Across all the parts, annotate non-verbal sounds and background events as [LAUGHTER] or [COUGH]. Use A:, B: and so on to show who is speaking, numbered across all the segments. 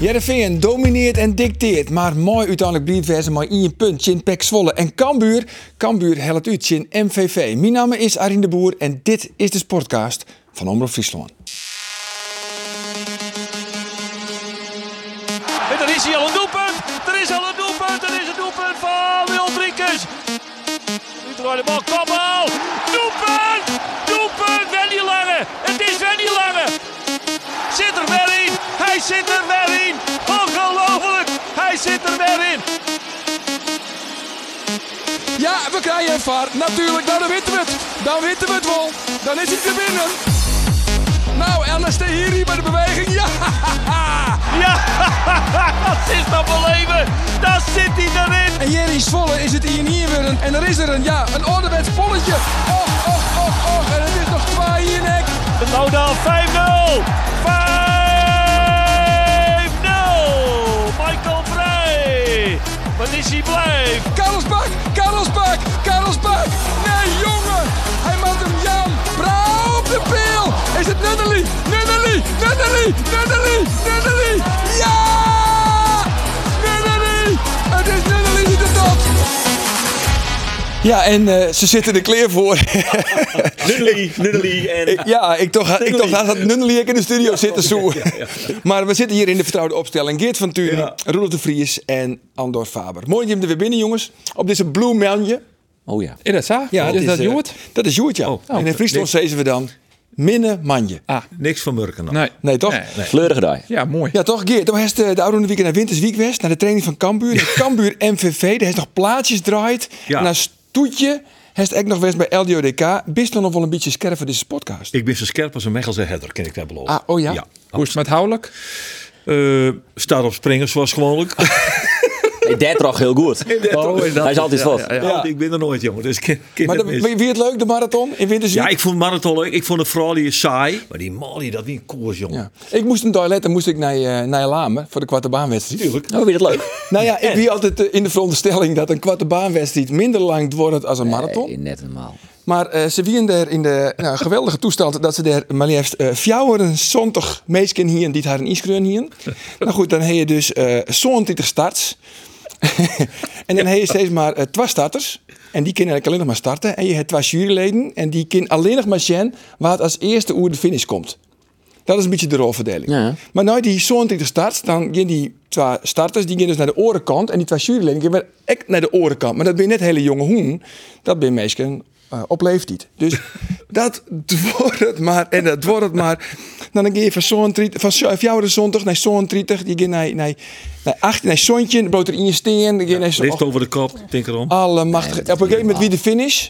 A: Jereveen domineert en dicteert, maar mooi uiteindelijk blijft wezen maar in je punt. Chin Pek Zwolle en Kambuur. Kambuur helpt u, Chin MVV. Mijn naam is Arien de Boer en dit is de Sportcast van Omroep Friesland.
B: En er is hier al een doelpunt. Er is al een doelpunt. Er is een doelpunt van Wil Driekens. Nu draait de bal. Kom al. Doelpunt. Doelpunt. Wendy Lange. Het is Wendy Lange. Zit er wel in. Hij zit er wel in. Ongelooflijk. Hij zit er wel in.
C: Ja, we krijgen een VAR. Natuurlijk, nou, dan weten we het. Dan weten we het wel. Dan is hij er binnen. Nou, Ernest de Hiri bij de beweging. Ja, [LAUGHS]
B: Ja, [LAUGHS] dat is dat beleven. Daar zit hij erin.
C: en hier in Zwolle is het hier en hier weer een. En er is er een, ja, een ouderwets polletje. Och, och, och, och. En het is nog twee hier, nek.
B: Het Lodaal 5-0. 5-0. Michael Vrij. Wat is hij blij?
C: Karelsbak, Karelsbak, Karelsbak. Nee, jongen. Hij maakt hem Jan. Brouw op de peel. Is het Nunnely? Nunnely, Nunnely, Nunnely, Nunnely. Ja! Nunnely. Het is Nunnely die de top.
A: Ja, en eh, ze zitten er clear voor.
D: Nunnely, Nunnely en...
A: Ik- ja, ik toch, ik toch dat Nunnely ik in de studio zitten zo. Maar we zitten hier in de vertrouwde opstelling. Geert van Turen,
D: Ja.
A: Roelof de Vries en Andor Faber. Mooi dat je hem er weer binnen, jongens. Op deze Blue Mountain.
E: Oh ja.
F: Is dat zo?
A: Ja,
F: is dat
A: eh,
F: Joert? Oh,
A: Dat is Joert, ja. en in Friesland zezen we dan minne manje.
D: Niks van Murken.
F: Ah, Nee.
A: Nee, toch?
E: Fleurige dag.
F: Ja, mooi.
A: Ja, toch, Geert? Dan is de, de oude weekend naar Winterswiek West, naar de training van Cambuur. Naar Cambuur [LAUGHS] MVV, daar is nog plaatjes draait.
D: Ja.
A: Naar Stoetje, heeft ook nog west bij LDODK. Bist dan nog wel een beetje scherp voor deze podcast?
D: Ik ben zo scherp als een Mechelse header, kan ik dat beloven.
A: Ah, oh ja?
F: Hoe is het met houdelijk?
D: Eh, staat op springen zoals gewoonlijk. [LAUGHS]
E: Ik deed toch heel goed.
D: Oh,
E: Hij is altijd vast.
D: Ja, Ik ben er nooit, jongen. Dus ik ken- ken
A: Maar
D: het
A: dan-
D: mis.
A: wie wie het leuk, de marathon in Winterswiek?
D: ja, ik vond marathon leuk. Ik vond het vooral hier saai. Maar die mal, die dat niet koers, jongen.
A: Ja. Ik moest een toilet en moest ik naar, eh, naar Lame voor de kwarte baanwedstrijd.
E: Oh, vind je dat leuk?
A: [LAUGHS] Nou ja, ik wie altijd eh, in de veronderstelling dat een kwarte baanwedstrijd minder lang wordt als een marathon.
E: Nee, net normaal.
A: Maar eh, ze wien daar in de nou, geweldige toestand dat ze daar maar liefst eh 74 meesken hier die haar een iskreun hier. nou goed, dan heb je dus eh 27 starts. [LAUGHS] en dan heb je steeds maar eh, twee starters. En die kunnen eigenlijk alleen nog maar starten. En je hebt twee juryleden. En die kunnen alleen nog maar zien waar het als eerste oer de finish komt. Dat is een beetje de rolverdeling.
E: Ja.
A: Maar nou die 27 starts, dan gaan die twee starters die gaan dus naar de orenkant. En die twee juryleden gaan weer echt naar de orenkant. Maar dat ben je net hele jonge hoen. Dat ben meesken eh op leeftijd.
E: [LAUGHS]
A: Dus dat wordt het maar. En dat wordt het maar. Nou, dan ga je van zo'n 30 van zo- van jou de zondag naar zo'n 30. Die gaan naar, naar, naar 18, naar zontje. Bloot er in je steen. Dan ga je naar zo'n-
D: Licht over de kop, denk erom.
A: Ah, Allemachtig.
E: Nee,
A: Op
E: dat
A: een
E: is
A: gegeven moment wie
E: niet
A: de finish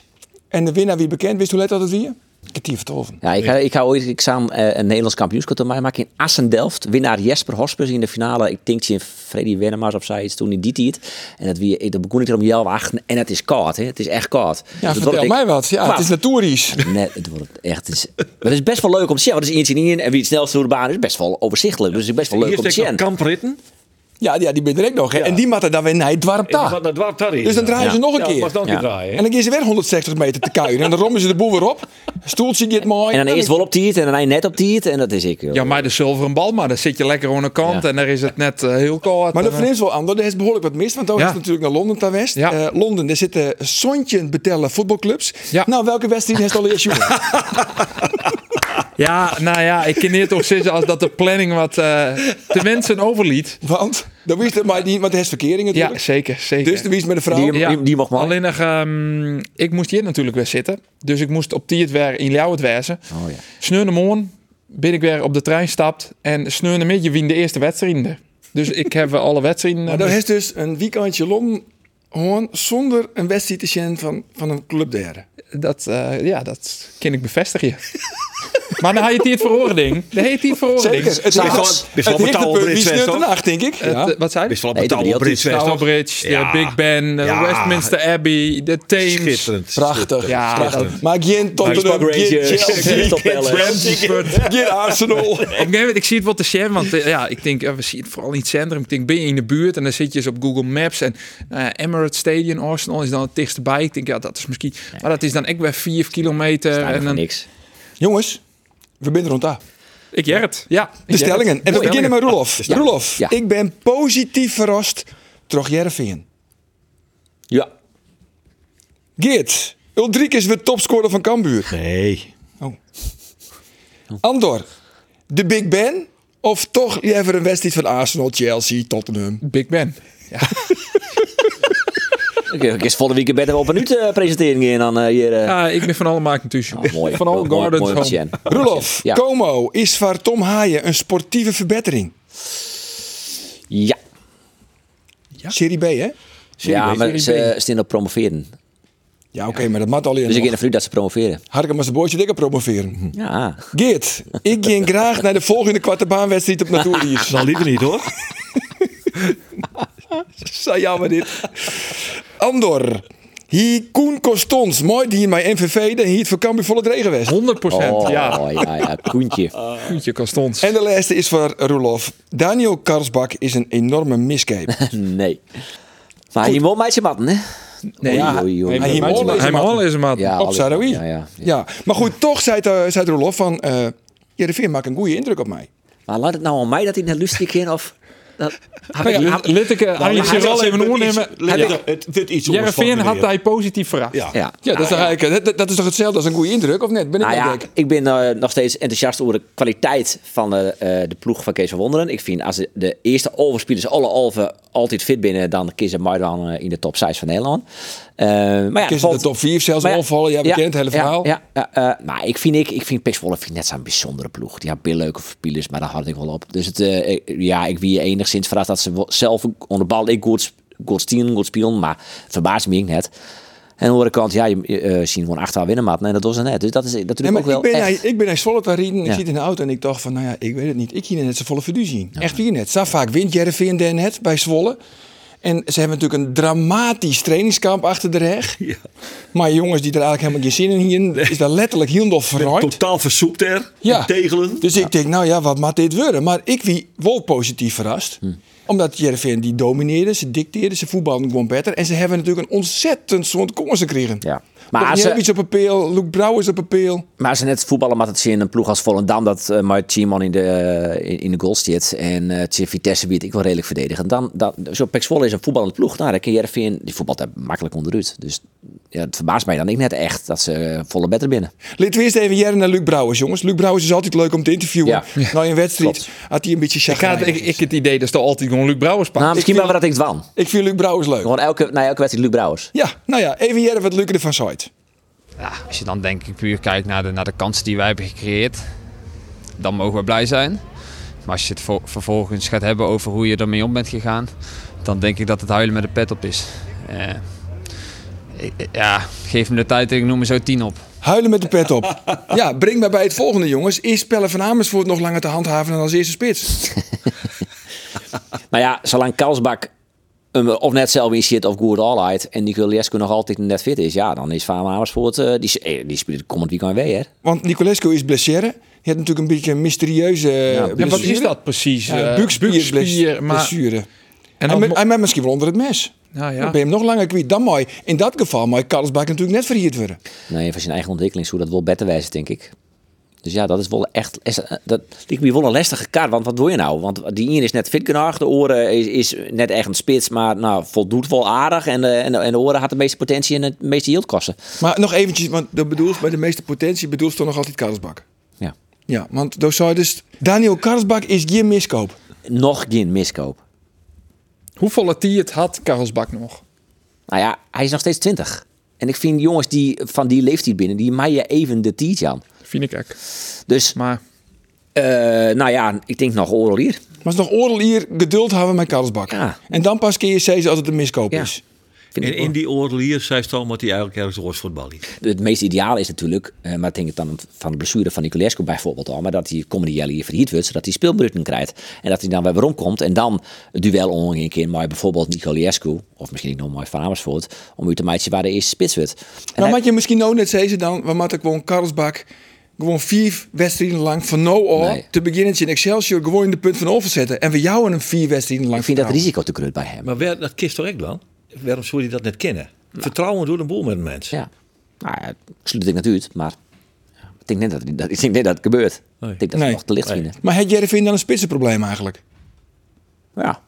A: en de winnaar wie bekend. Wist hoe laat dat het wie? Ketief Tolven.
E: Ja, ik, ga, ik ga ooit ik samen eh, een Nederlands kampioenschap te maken in Assendelft. Winnaar Jesper Hospers in de finale. Ik denk in Freddy Wennemars of zij iets toen in die tijd. En dat wie, dat begon ik er om jou wachten. En het is koud, hè? Het is echt koud.
A: Ja, vertel mij wat. Ja, het is naturisch.
E: Nee, het wordt echt. Het is, maar het is best wel leuk om te zien. Want het is eentje in en wie het snelste door de baan is, best wel overzichtelijk. Dus het is best wel leuk
D: Hier
E: om te
D: steekt nog
E: zien.
D: kampritten.
A: Ja, ja, die ben je er ook nog. hè. En die matten dan weer naar het dwarp daar.
D: Wat naar dwarp daar is.
A: Dus dan
D: Ja.
A: draaien ze nog een
D: Ja, was
A: keer.
D: dan een keer
E: Ja.
D: draaien. hè?
A: En dan gaan ze weer 160 meter te kuieren. En dan rommen ze de boel weer op. Stoeltje dit mooi.
E: En dan eerst wel op tiert en dan hij net op tiert. En dat is ik. joh.
F: Ja, maar de zilveren bal, maar dan zit je lekker aan de kant
E: Ja.
F: en daar is het net eh, heel koud.
A: Maar dat
F: En, eh,
A: vreemd wel anders. Er is behoorlijk wat mis. Want dan
F: Ja.
A: is het natuurlijk naar Londen ter west.
F: Ja.
A: Eh, Londen, daar zitten zontje betellen voetbalclubs.
F: Ja.
A: Nou, welke wedstrijd heeft al eerst jongen?
F: Ja, nou ja, ik ken hier toch zitten als dat de planning wat eh de mensen overliet.
A: Want, dan wist het, maar die, want er is verkering natuurlijk.
F: Ja, zeker, zeker.
A: Dus de wie is met de vrouw.
E: Die- die mag maar.
F: Alleen nog, ehm, ik moest hier natuurlijk weer zitten. Dus ik moest op tiert weer in Ljouwert wezen.
E: Oh, ja.
F: Sneunde morgen ben ik weer op de trein stapt. En sneunde midden wien de eerste wedstrijden. Dus ik heb eh, alle wedstrijden... eh,
A: Maar dan is dus een weekendje Londen gewoon zonder een wedstrijd te zien van, van een club derde.
F: Dat, eh, ja, dat kan ik bevestigen. Maar dan had je het hier verhoren ding. Dan heet het hier verhoren ding.
A: Zeker. Het,
E: Best wel-
A: was-
D: best wel
A: het
D: betaalbaar
A: hoogtepunt,
D: in
A: wie
D: Twente,
A: sneurt er
D: hoor.
A: nacht, denk ik.
F: Het,
A: Ja.
F: eh, wat zei je?
D: Best wel een
E: Nee, dat
D: betaalbaar
E: weet
D: Brits
E: ik
D: West,
F: Tower
D: toch?
F: Bridge,
D: Ja.
F: de Big Ben, de
D: Ja.
F: Westminster Abbey, de Thames.
D: Schitterend.
A: Prachtig.
F: Ja,
A: prachtig.
F: dat-
A: Maar geen Tottenham,
E: Rangers,
A: geen
E: [LAUGHS]
A: Chelsea,
E: Crystal Palace.
A: geen Arsenal.
F: Op een gegeven moment, ik zie het wel te zien, want eh, ja, ik denk, eh, we zien het vooral in het centrum. Ik denk, ben je in de buurt en dan zit je eens op Google Maps en nou ja, Emirates Stadium, Arsenal is dan het dichtst bij. Ik denk, ja, dat is misschien, maar dat is dan ook weer vier kilometer.
E: Eigenlijk
F: En
E: voor
F: dan,
A: [LAUGHS]
E: niks.
A: Jongens, we zijn rond daar.
F: ik jer het, ja.
A: De stellingen. En we beginnen met Roelof. Roelof,
E: Ja.
A: ik ben positief verrast door Jervin.
E: Ja.
A: Geert, Ulrik is weer topscorer van Cambuur. Oh.
D: Nee.
A: Andor, de Big Ben of toch liever een wedstrijd van Arsenal, Chelsea, Tottenham?
F: Big Ben.
E: Ik ik is volgende week beter op een minuut eh, presentering in dan eh, hier. eh.
F: Ja, ik ben van alle maken tussen.
E: Oh, mooi.
F: Van alle
E: Mooi- mooi-
F: gardens
E: mooi
F: home.
E: patiënt.
A: Roelof,
E: Ja.
A: Como is voor Tom Haaien een sportieve verbetering.
E: Ja.
A: Serie B, hè?
E: Ja, maar
F: Serie
E: ze staan op promoveren.
A: Ja, oké, maar dat mag al
E: Dus ik
A: in.
E: in de dat ze promoveren.
A: Harke maar zijn boordje dikker promoveren.
E: Ja.
A: Geert, ik [LAUGHS] ging graag naar de volgende kwartebaanwedstrijd op Natuurlies. [LAUGHS]
D: Zal liever niet, hoor.
A: Zo jammer dit. Andor, hier Koen Costons, mooi die in mijn MVV, dan hier het voor Cambuur vol het regenwest.
F: 100
E: Oh,
F: ja.
E: ja, ja, Koentje.
F: Puntje Constans.
A: En de laatste is voor Roelof. Daniel Karsbak is een enorme [LAUGHS] miscape.
E: Nee. Maar je moet meisje matten, hè? Nee,
A: ja. Hij
E: ja,
A: hier mol is
F: Hij
A: een man.
F: al is een maat.
E: ja,
A: Op
E: alles-
A: Sarawi.
E: Ja, ja.
A: Ja, maar goed, toch zei, het, eh, zei het Roelof van... eh Jereveen maakt een goede indruk op mij.
E: Maar laat het nou aan mij dat hij naar Lustig ging of... Dat, heb ik- heb-
F: Let ik eh, Arjen Cyril even oornemen.
D: [LAUGHS] Het wordt iets
F: Jervin had hij positief verrast.
D: Ja.
E: ja.
A: Ah, Ja, dat, is toch eigenlijk, eh, dat, dat is toch hetzelfde als een goede indruk, of net? Ben ik
E: Nou
A: nou
E: ja,
A: gek?
E: ik ben eh, nog steeds enthousiast over de kwaliteit van eh, eh, de ploeg van Kees van Wonderen. Ik vind als de- de eerste overspielers alle alven altijd fit binnen, dan kiezen Mardan eh, in de top 6 van Nederland. Eh, maar ja,
A: Kies in de top 4 zelfs
E: maar ja,
A: onvallen. Jij bekent het hele verhaal.
E: Ja, ja, eh, maar ik vind, ik, ik vind PSV Zwolle vind ik net zo'n bijzondere ploeg. Die had heel leuke verspielers, maar daar had ik wel op. Dus het, eh, ik- ja, ik wie enigszins verrast dat ze wel- zelf onder de bal ik goed, sp- goed stieren, goed spelen, maar het verbaast me net. En aan de andere kant, ja, je eh, zien gewoon acht winnen, maat. Nee, dat was er net. Dus dat is natuurlijk
A: Nee, maar
E: ook wel
A: ik, ben
E: echt.
A: naar, ik ben naar Zwolle gaan rijden. Ik
E: Ja.
A: zit in de auto en ik dacht van, nou ja, ik weet het niet. Ik hier net zijn volle verduur zien. Echt hier net. Zo vaak wint Jereveen daar net bij Zwolle. En ze hebben natuurlijk een dramatisch trainingskamp achter de reg. Maar jongens die er eigenlijk helemaal geen zin in hier, is daar letterlijk heel nog verrooid.
D: Totaal versoept er.
A: Ja.
D: Ja. Tegelen.
A: Dus ik denk, nou ja, wat mag dit worden? Maar ik wie wel positief verrast. Omdat Jereveen die domineerde, ze dicteerde, ze voetbalden gewoon beter. En ze hebben natuurlijk een ontzettend soort kansen gekregen.
E: Ja.
A: Maar
E: Maar, ze,
A: op papeel, Luc Brouwers op papeel.
E: maar als ze net voetballen, maar het zien een ploeg als Volendam dat eh maar Timon in de, eh, in- in de goal zit en eh tegen Vitesse biedt ik wel redelijk verdedigen. Dan, dan, zo Pek Zwolle is een voetballende ploeg. Nou, dan kun je Jervin, die voetbalt daar makkelijk onderuit. Dus ja, het verbaast mij dan ik net echt dat ze eh, volle better binnen.
A: Laten we eerst even jaren naar Luc Brouwers, jongens. Luc Brouwers is altijd leuk om te interviewen.
E: Ja.
A: [LAUGHS] Na een wedstrijd had hij een beetje
F: Ik, ga,
A: chagrijnig.
F: ik, ik het idee dat ze altijd gewoon Luc Brouwers
E: Nou,
F: pakken.
E: misschien
A: vind-
E: wel dat ik het wan.
A: Ik vind Luc Brouwers leuk.
E: Gewoon elke, na elke wedstrijd Luc Brouwers.
A: Ja, nou ja, even jaren wat Luc ervan zei.
G: Ja, als je dan denk ik puur kijkt naar de, naar de kansen die wij hebben gecreëerd, dan mogen we blij zijn. Maar als je het vo- vervolgens gaat hebben over hoe je ermee om bent gegaan, dan denk ik dat het huilen met de pet op is. Eh, ik- ik- ja, geef me de tijd en ik noem me zo tien op.
A: Huilen met de pet op. Ja, breng mij bij het volgende, jongens. Is Pelle van Amersfoort nog langer te handhaven dan als eerste spits?
E: Maar Nou ja, zolang Kalsbak hem of net zelf in zit of good all right en Nico Lesco nog altijd net fit is, ja, dan is Van Amersfoort, eh, die, eh, die speelt komend weekend weer, hè?
A: Want Nicolescu is blessure. Je hebt natuurlijk een beetje een mysterieuze eh, ja,
F: En wat Dus is dat precies?
A: Ja,
F: Eh,
A: buikspierblessure.
F: buikspier, maar- En
A: Hij
F: dan,
A: me- hij met misschien wel onder het mes. Dan
F: nou ja.
A: ben je hem nog langer kwijt. Dan mooi. In dat geval mag Karlsbak natuurlijk net verhierd worden.
E: Nee, van zijn eigen ontwikkeling, hoe dat wel beter wijzen, denk ik. Dus ja, dat is wel echt. is- eh, Dat lijkt me wel een lastige kaart. Want wat doe je nou? Want die Ian is net fit genoeg. De oren is, is net echt een spits. Maar nou, voldoet wel aardig. En de, en de, en de oren had de meeste potentie en het meeste yield kosten.
A: Maar nog eventjes, want dat bedoelt bij de meeste potentie bedoelt toch nog altijd Karlsbak.
E: Ja.
A: Ja, want door zou je dus Daniel Karlsbak is geen miskoop.
E: Nog geen miskoop.
F: Hoe volatiel had Karelsbak nog?
E: Nou ja, hij is nog steeds 20. En ik vind jongens die van die leeftijd binnen, die maaien even de tientje aan.
F: Vind ik ook.
E: Dus,
F: Maar
E: eh, nou ja, ik denk nog oral hier.
A: Maar het is nog oordeel hier geduld houden met Karlsbak.
E: Ja.
A: En dan pas kun je zeggen als het een miskoop
E: Ja.
A: is.
E: Vind
D: En
E: ik wel.
D: in die oorlier zei Stal dat hij eigenlijk ergens oors voetballen.
E: Het meest ideale is natuurlijk, eh, maar ik denk het dan van de blessure van Nicolescu bijvoorbeeld al, maar dat hij komende jaar hier verhierd wordt, zodat hij speelminuten krijgt. En dat hij dan weer rondkomt en dan het duel om een keer maar bijvoorbeeld Nicolescu, of misschien nog maar Van Amersfoort, om u te maken waar de eerste spits wordt. En
A: Nou, Maar
E: hij-
A: wat je misschien ook net zei ze dan, we moeten gewoon Karlsbak gewoon vier wedstrijden lang van no all
E: Nee.
A: te beginnen in Excelsior gewoon in de punt van over zetten. En we jouwen hem vier wedstrijden lang.
E: ik vind dat
A: vertrouwen.
E: risico te groot bij hem.
D: Maar waar- dat kist toch echt dan? Waarom zou je dat net kennen? Vertrouwen doet een boel met een mens.
E: Ja. Nou ja, ik sluit ik natuurlijk, maar ja, ik denk net dat, dat, ik denk net dat het gebeurt.
D: Nee.
E: Ik denk dat ze
A: Nee.
E: nog te licht
D: Nee.
E: vinden.
A: Maar het Jervin dan een spitsenprobleem eigenlijk?
E: Ja.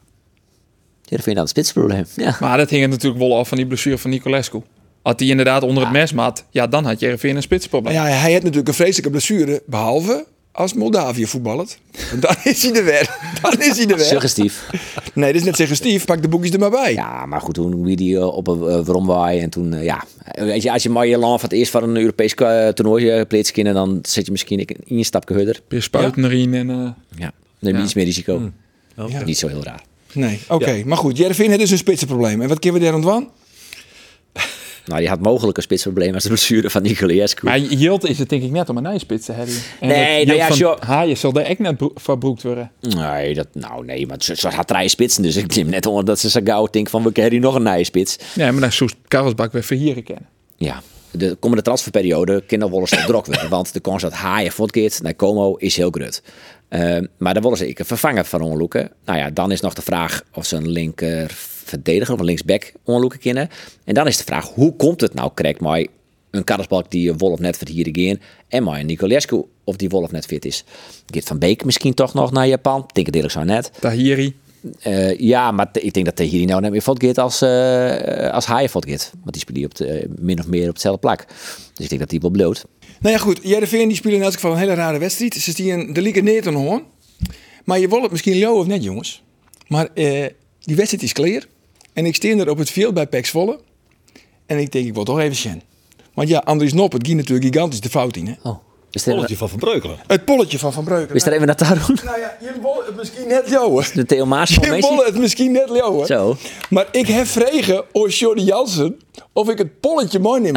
E: Ja, dat vind je dan het spitsprobleem. Ja.
F: Maar dat hing het natuurlijk wel af van die blessure van Nicolescu. Had hij inderdaad onder het mes maat, ja, dan had je RVN een
A: Maar
F: spitsprobleem.
A: Nou ja, hij heeft natuurlijk een vreselijke blessure, behalve als Moldavië voetballert. Want Dan is hij er weer. [LAUGHS] Dan is hij er weer.
E: Suggestief.
A: Nee, dit is net suggestief. Pak de boekjes er maar bij.
E: Ja, maar goed, toen wie die eh, op een eh, romwaai en toen, eh, ja. Weet je, als je Marjelan van het eerst van een Europees eh, toernooi eh, pleet skinnen, dan zit je misschien een- in je stapje hurder.
F: Weer spuiten erin en... eh,
E: Ja. Neem je
F: Ja.
E: iets meer risico. Niet zo heel raar.
A: Nee, oké. Maar goed, Jervin heeft dus een spitsenprobleem. En wat kunnen we daar aan doen?
E: Nou, die had mogelijk een spitsprobleem als de blessure van Nicolescu.
F: Maar Jilt is het denk ik net om een nijspits te hebben. En
E: Nee, nou
F: dat Jilt
E: ja,
F: van
E: zo-
F: Haaien zal daar echt net bro- verbroekt worden.
E: Nee, dat, nou nee, maar ze, ze had drie spitsen, dus ik neem net onder dat ze zo gauw denkt van we krijgen hier nog een nieuwe spits.
F: Nee, maar dan zou Karlsbak weer verhieren kennen.
E: Ja, de komende transferperiode kan nog wel eens drok worden, want de kans dat Haaien voortkeert naar Como is heel groot. Eh, maar dan willen ze ik een vervanger van Onloeken. Nou ja, dan is nog de vraag of ze een linker verdediger of een linksback Onloeken kennen. En dan is de vraag, hoe komt het nou correct maar een Karlsbak die eh, Wolf net verhierde geen en maar een Nicolescu of die Wolf net fit is. Dit van Beek misschien toch nog naar Japan. Ik denk het eerlijk zo net.
F: Tahiri.
E: Eh, ja, maar te- ik denk dat de Hiri nou net meer Vodgit als, eh eh, als Haaien Vodgit. Want die spelen op de, eh, min of meer op dezelfde plak. Dus ik denk dat die wel bloot.
A: Nou ja, goed. Jervin die spelen in elk geval een hele rare wedstrijd. Ze zien de lieke neer te horen. Maar je wil het misschien jou of net, jongens. Maar eh, die wedstrijd is clear. En ik steen er op het veld bij Pax Volle. En ik denk, ik wil toch even zien. Want ja, Andries Noppert ging natuurlijk gigantisch de fout in. Hè?
E: Oh. Is er, even,
D: Bolletje van Van Breukelen.
A: Het polletje van Van Breukelen.
E: is er even naar daarom?
A: Nou ja, Jim Bolle het misschien net jou, hè?
E: De Theo Maas van
A: Jim Bolle
E: Messi?
A: het misschien net jou, hè?
E: Zo.
A: Maar ik heb vregen of Jordi Jansen of ik het polletje mooi neem.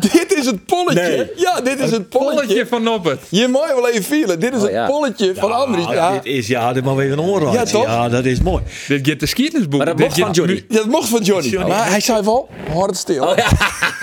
A: dit is het polletje.
D: Nee.
A: Ja, dit is het, polletje.
F: Polletje van Noppert.
A: Je mag wel even vielen. Dit is
E: Oh, ja.
A: het polletje van Andries.
D: Ah,
A: Ja,
D: Dit is, ja, dit mag weer een oor aan.
A: Ja, toch?
D: Ja, dat is mooi.
F: Dit get de skiertensboek.
E: Maar dat mocht van Johnny.
A: dat mocht van Johnny. Maar hij zei wel, hard stil.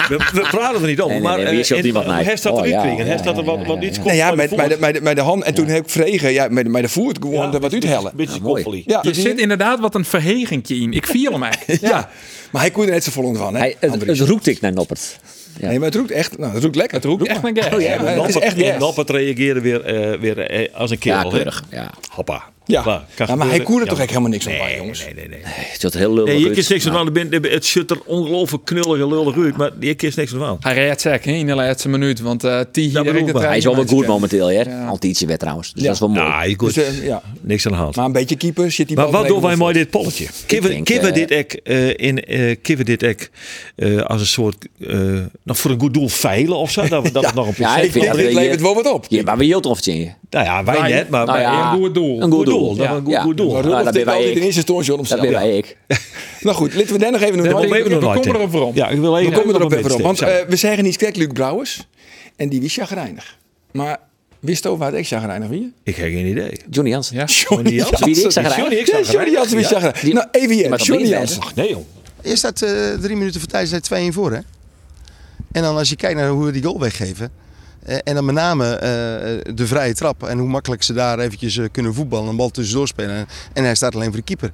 D: We, we praten er niet over,
E: Nee, nee,
D: maar eh,
E: nee, wie is op die wat nijpt?
D: hij staat
E: Oh,
D: eruit
E: ja,
D: kringen. Hij
E: ja,
D: staat er
E: ja,
D: wat,
E: ja,
D: wat
E: ja,
D: iets
A: Nou ja,
D: van
A: met,
D: de
A: bij, de,
D: voorkant.
A: bij, de, bij de hand. En toen heb ik vregen, ja, met, met de voet gewoon er wat uithellen.
D: Beetje
E: Ja, mooi.
D: koppelie.
A: Ja,
F: Je
A: dus-
F: zit inderdaad wat een verhegentje in. Ik viel
A: [LAUGHS]
F: hem eigenlijk.
A: ja. maar hij kon er net zo vol onder van. Hè,
E: Hij, het,
A: Andries.
E: het roept ik naar Noppert.
A: nee, maar het roept echt, nou, het roept lekker. Het roept
F: Echt mijn gek.
A: ja, maar het is
D: Noppert-
A: echt
D: en
A: yes.
D: Noppert reageerde weer, eh, weer eh, als een
E: Ja,
D: kerel. hè?
E: keurig. Ja.
D: Hoppa.
A: Ja,
D: Hoppa.
A: Ja, maar
D: Kan
A: hij
D: gebeuren.
A: koerde
D: Ja.
A: toch echt helemaal niks van bij,
D: Nee,
A: jongens.
D: nee, nee, nee.
E: Het zat heel lullig
D: Nee, je
E: uit.
D: kiest niks
E: Maar-
D: aan de bind. Het zit er ongelooflijk knullig en lullig uit, maar je kiest niks aan.
F: Hij redt zeg hè, in de laatste minuut. Want eh Tahiri
D: Dat bedoel ik.
F: de
E: Hij is wel wel goed momenteel, hè? Antietje werd trouwens. Dus dat is wel mooi.
D: Nou, je
A: Dus,
D: koest
A: eh, ja.
D: niks aan de hand.
A: Maar een beetje keeper zit die
D: Maar
A: bal
D: wat doen
A: tegen
D: wij
A: de
D: mooi dit polletje?
E: denk,
D: Kiven
E: eh,
D: dit ek eh, in eh kiven dit ek eh, als een soort eh, nog voor een goed doel veilen of zo. Dat, we-
E: [LAUGHS]
D: dat we nog een
E: Ja,
D: procent-
E: ik vind
A: Dit
E: dat we hier-
A: levert wel wat op.
E: Ja, maar we hield onvertje in je.
D: Nou ja, wij
F: Wij-
D: net, maar
E: Nou
D: wij-
E: ja,
F: een goed doel.
E: Een goed
D: Goed doel,
E: doel.
D: dat
E: ja.
D: was een goed-
E: Ja.
D: goed doel.
E: Nou,
A: Rudolf
E: dat
A: dit
E: ben
A: al dit in
E: wij ik.
A: eerste instantie om
E: Dat ben wij ik.
A: Nou goed, laten we daar nog even naar
D: Daar
A: de
F: we
D: bleven
F: komen
D: nog nooit
F: er
D: in.
F: over om.
D: Ja, ik wil even
A: We komen
D: nog
A: er ook
D: een
A: even op.
D: wedstrijd.
A: Want
D: Zo.
A: eh, we zeggen niet gek Luc Brouwers. En die was chagrijnig. Maar wist ook waar ik chagrijnig wie?
D: ik heb geen idee.
E: Johnny Jansen.
F: Ja.
A: Johnny Jansen.
E: Wie die ik zag
D: Johnny, ik
A: Ja,
D: zag
A: Johnny Jansen was chagrijnig.
E: Die-
A: Nou, even
E: die
A: hier.
E: mag
A: Johnny
E: erin
A: Jansen.
D: Ach nee, joh.
H: Eerst staat eh, drie minuten voor tijd, zijn 2 in voor hè. En dan als je kijkt naar hoe we die goal weggeven. eh, en dan met name eh, de vrije trap. En hoe makkelijk ze daar eventjes eh, kunnen voetballen. Een bal tussendoor spelen. En hij staat alleen voor de keeper.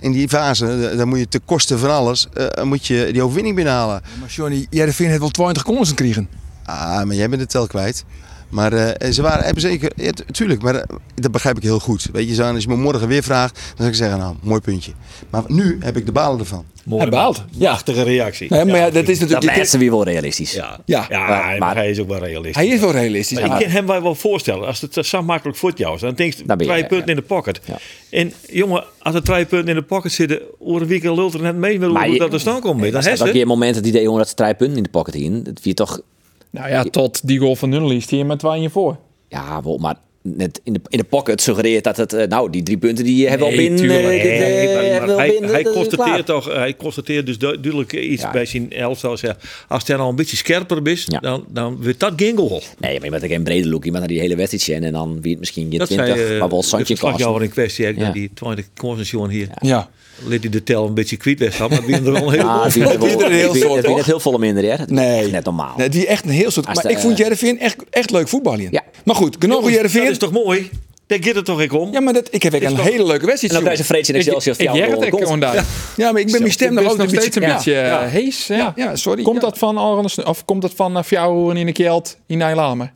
H: In die fase, eh, dan moet je ten koste van alles, eh, moet je die overwinning binnenhalen.
A: Maar Johnny, jij vindt het wel 20 kansen krijgen.
H: Ah, maar jij bent het tel kwijt. Maar eh, ze waren hebben zeker, ja, tu- tuurlijk, maar eh, dat begrijp ik heel goed. Weet je, zo, als je me morgen weer vraagt, dan zou ik zeggen, nou, mooi puntje. Maar nu heb ik de balen ervan.
A: Hij baalt. Ja.
D: Prachtige reactie.
A: Nee, maar ja, dat is
E: Dat
A: natuurlijk... je
E: laatste weer wel realistisch.
D: Ja,
A: Ja.
D: ja,
E: Ja,
D: en
E: maar-
D: hij is ook wel realistisch.
A: Hij is wel realistisch.
D: Ik
A: maar-
D: kan hem wij wel voorstellen, als het eh, zo makkelijk voor jou is, dan denk je
E: Dan ben je,
D: twee
E: ja,
D: punten
E: ja.
D: in de pocket.
E: Ja.
D: En jongen, als er twee punten in de pocket zitten, over een weekend lult er net mee met hoe
E: je-
D: hoe dat er stand komt. Dan
E: Er
D: heeft
E: staat ook
D: het.
E: weer momenten die idee jongen dat ze drie punten in de pocket in. Dat wie toch
F: Nou ja, tot die goal van Nunnely is hier met 2 voor.
E: ja, wel, maar net in de, in de pocket suggereert dat het... eh, nou, die drie punten die hebben we al
D: Nee,
E: binnen.
D: tuurlijk.
E: eh,
D: Nee,
E: eh,
D: maar-
E: hebben we
D: maar
E: al
D: hij-
E: binnen,
D: Hij
E: dat is klaar.
D: constateert toch, hij constateert dus du- duidelijk iets
E: Ja.
D: bij zijn elftal. Zeg, Als hij nou een beetje scherper is,
E: Ja.
D: dan, dan wordt dat geen goal.
E: Nee, maar je bent ook geen brede look. Je bent naar die hele wedstrijd zien en dan wie het misschien je
D: Dat zijn
E: 20,
A: eh,
E: maar wel Santje kosten.
D: jouw in kwestie. hè,
E: Ja.
D: dat Die 20 corners hier.
A: Ja.
D: Liet hij de tel een beetje kwijt weg, maar die er al een hele
A: [LAUGHS]
E: Ja,
D: goal
E: die
D: van.
E: is wel-
A: Die er een
E: Ah, ik
A: heel
E: vind-
A: soort,
E: ik vind
A: hoor.
E: het heel veel minder, hè? Dat is
A: Nee.
E: echt net normaal.
A: Nee, die echt een heel soort.
E: Als
A: Maar
E: de,
A: ik vond
E: eh,
A: Jervin echt, echt leuk voetballen.
E: Ja.
A: Maar goed, genoeg over
D: Dat
A: Jervin.
D: is toch mooi? Daar gaat het toch ik om?
A: Ja, maar dat, ik heb echt een
D: toch-
A: hele leuke wedstrijd.
E: En dan krijg
A: gezien.
E: je Freetje en Excelsior
F: Ik
E: voor
F: jij het
E: jouw
F: ook gewoon
E: goal.
F: daar.
A: Ja, maar ik ben mijn stem nog
F: nog
A: altijd
F: steeds een beetje
A: Ja.
F: eh, hees. Ja.
A: Ja, ja, sorry.
F: Komt
A: Ja.
F: dat van Arne Snu- of komt dat van uh, Fjouwer in de Kjeld in Nijlame?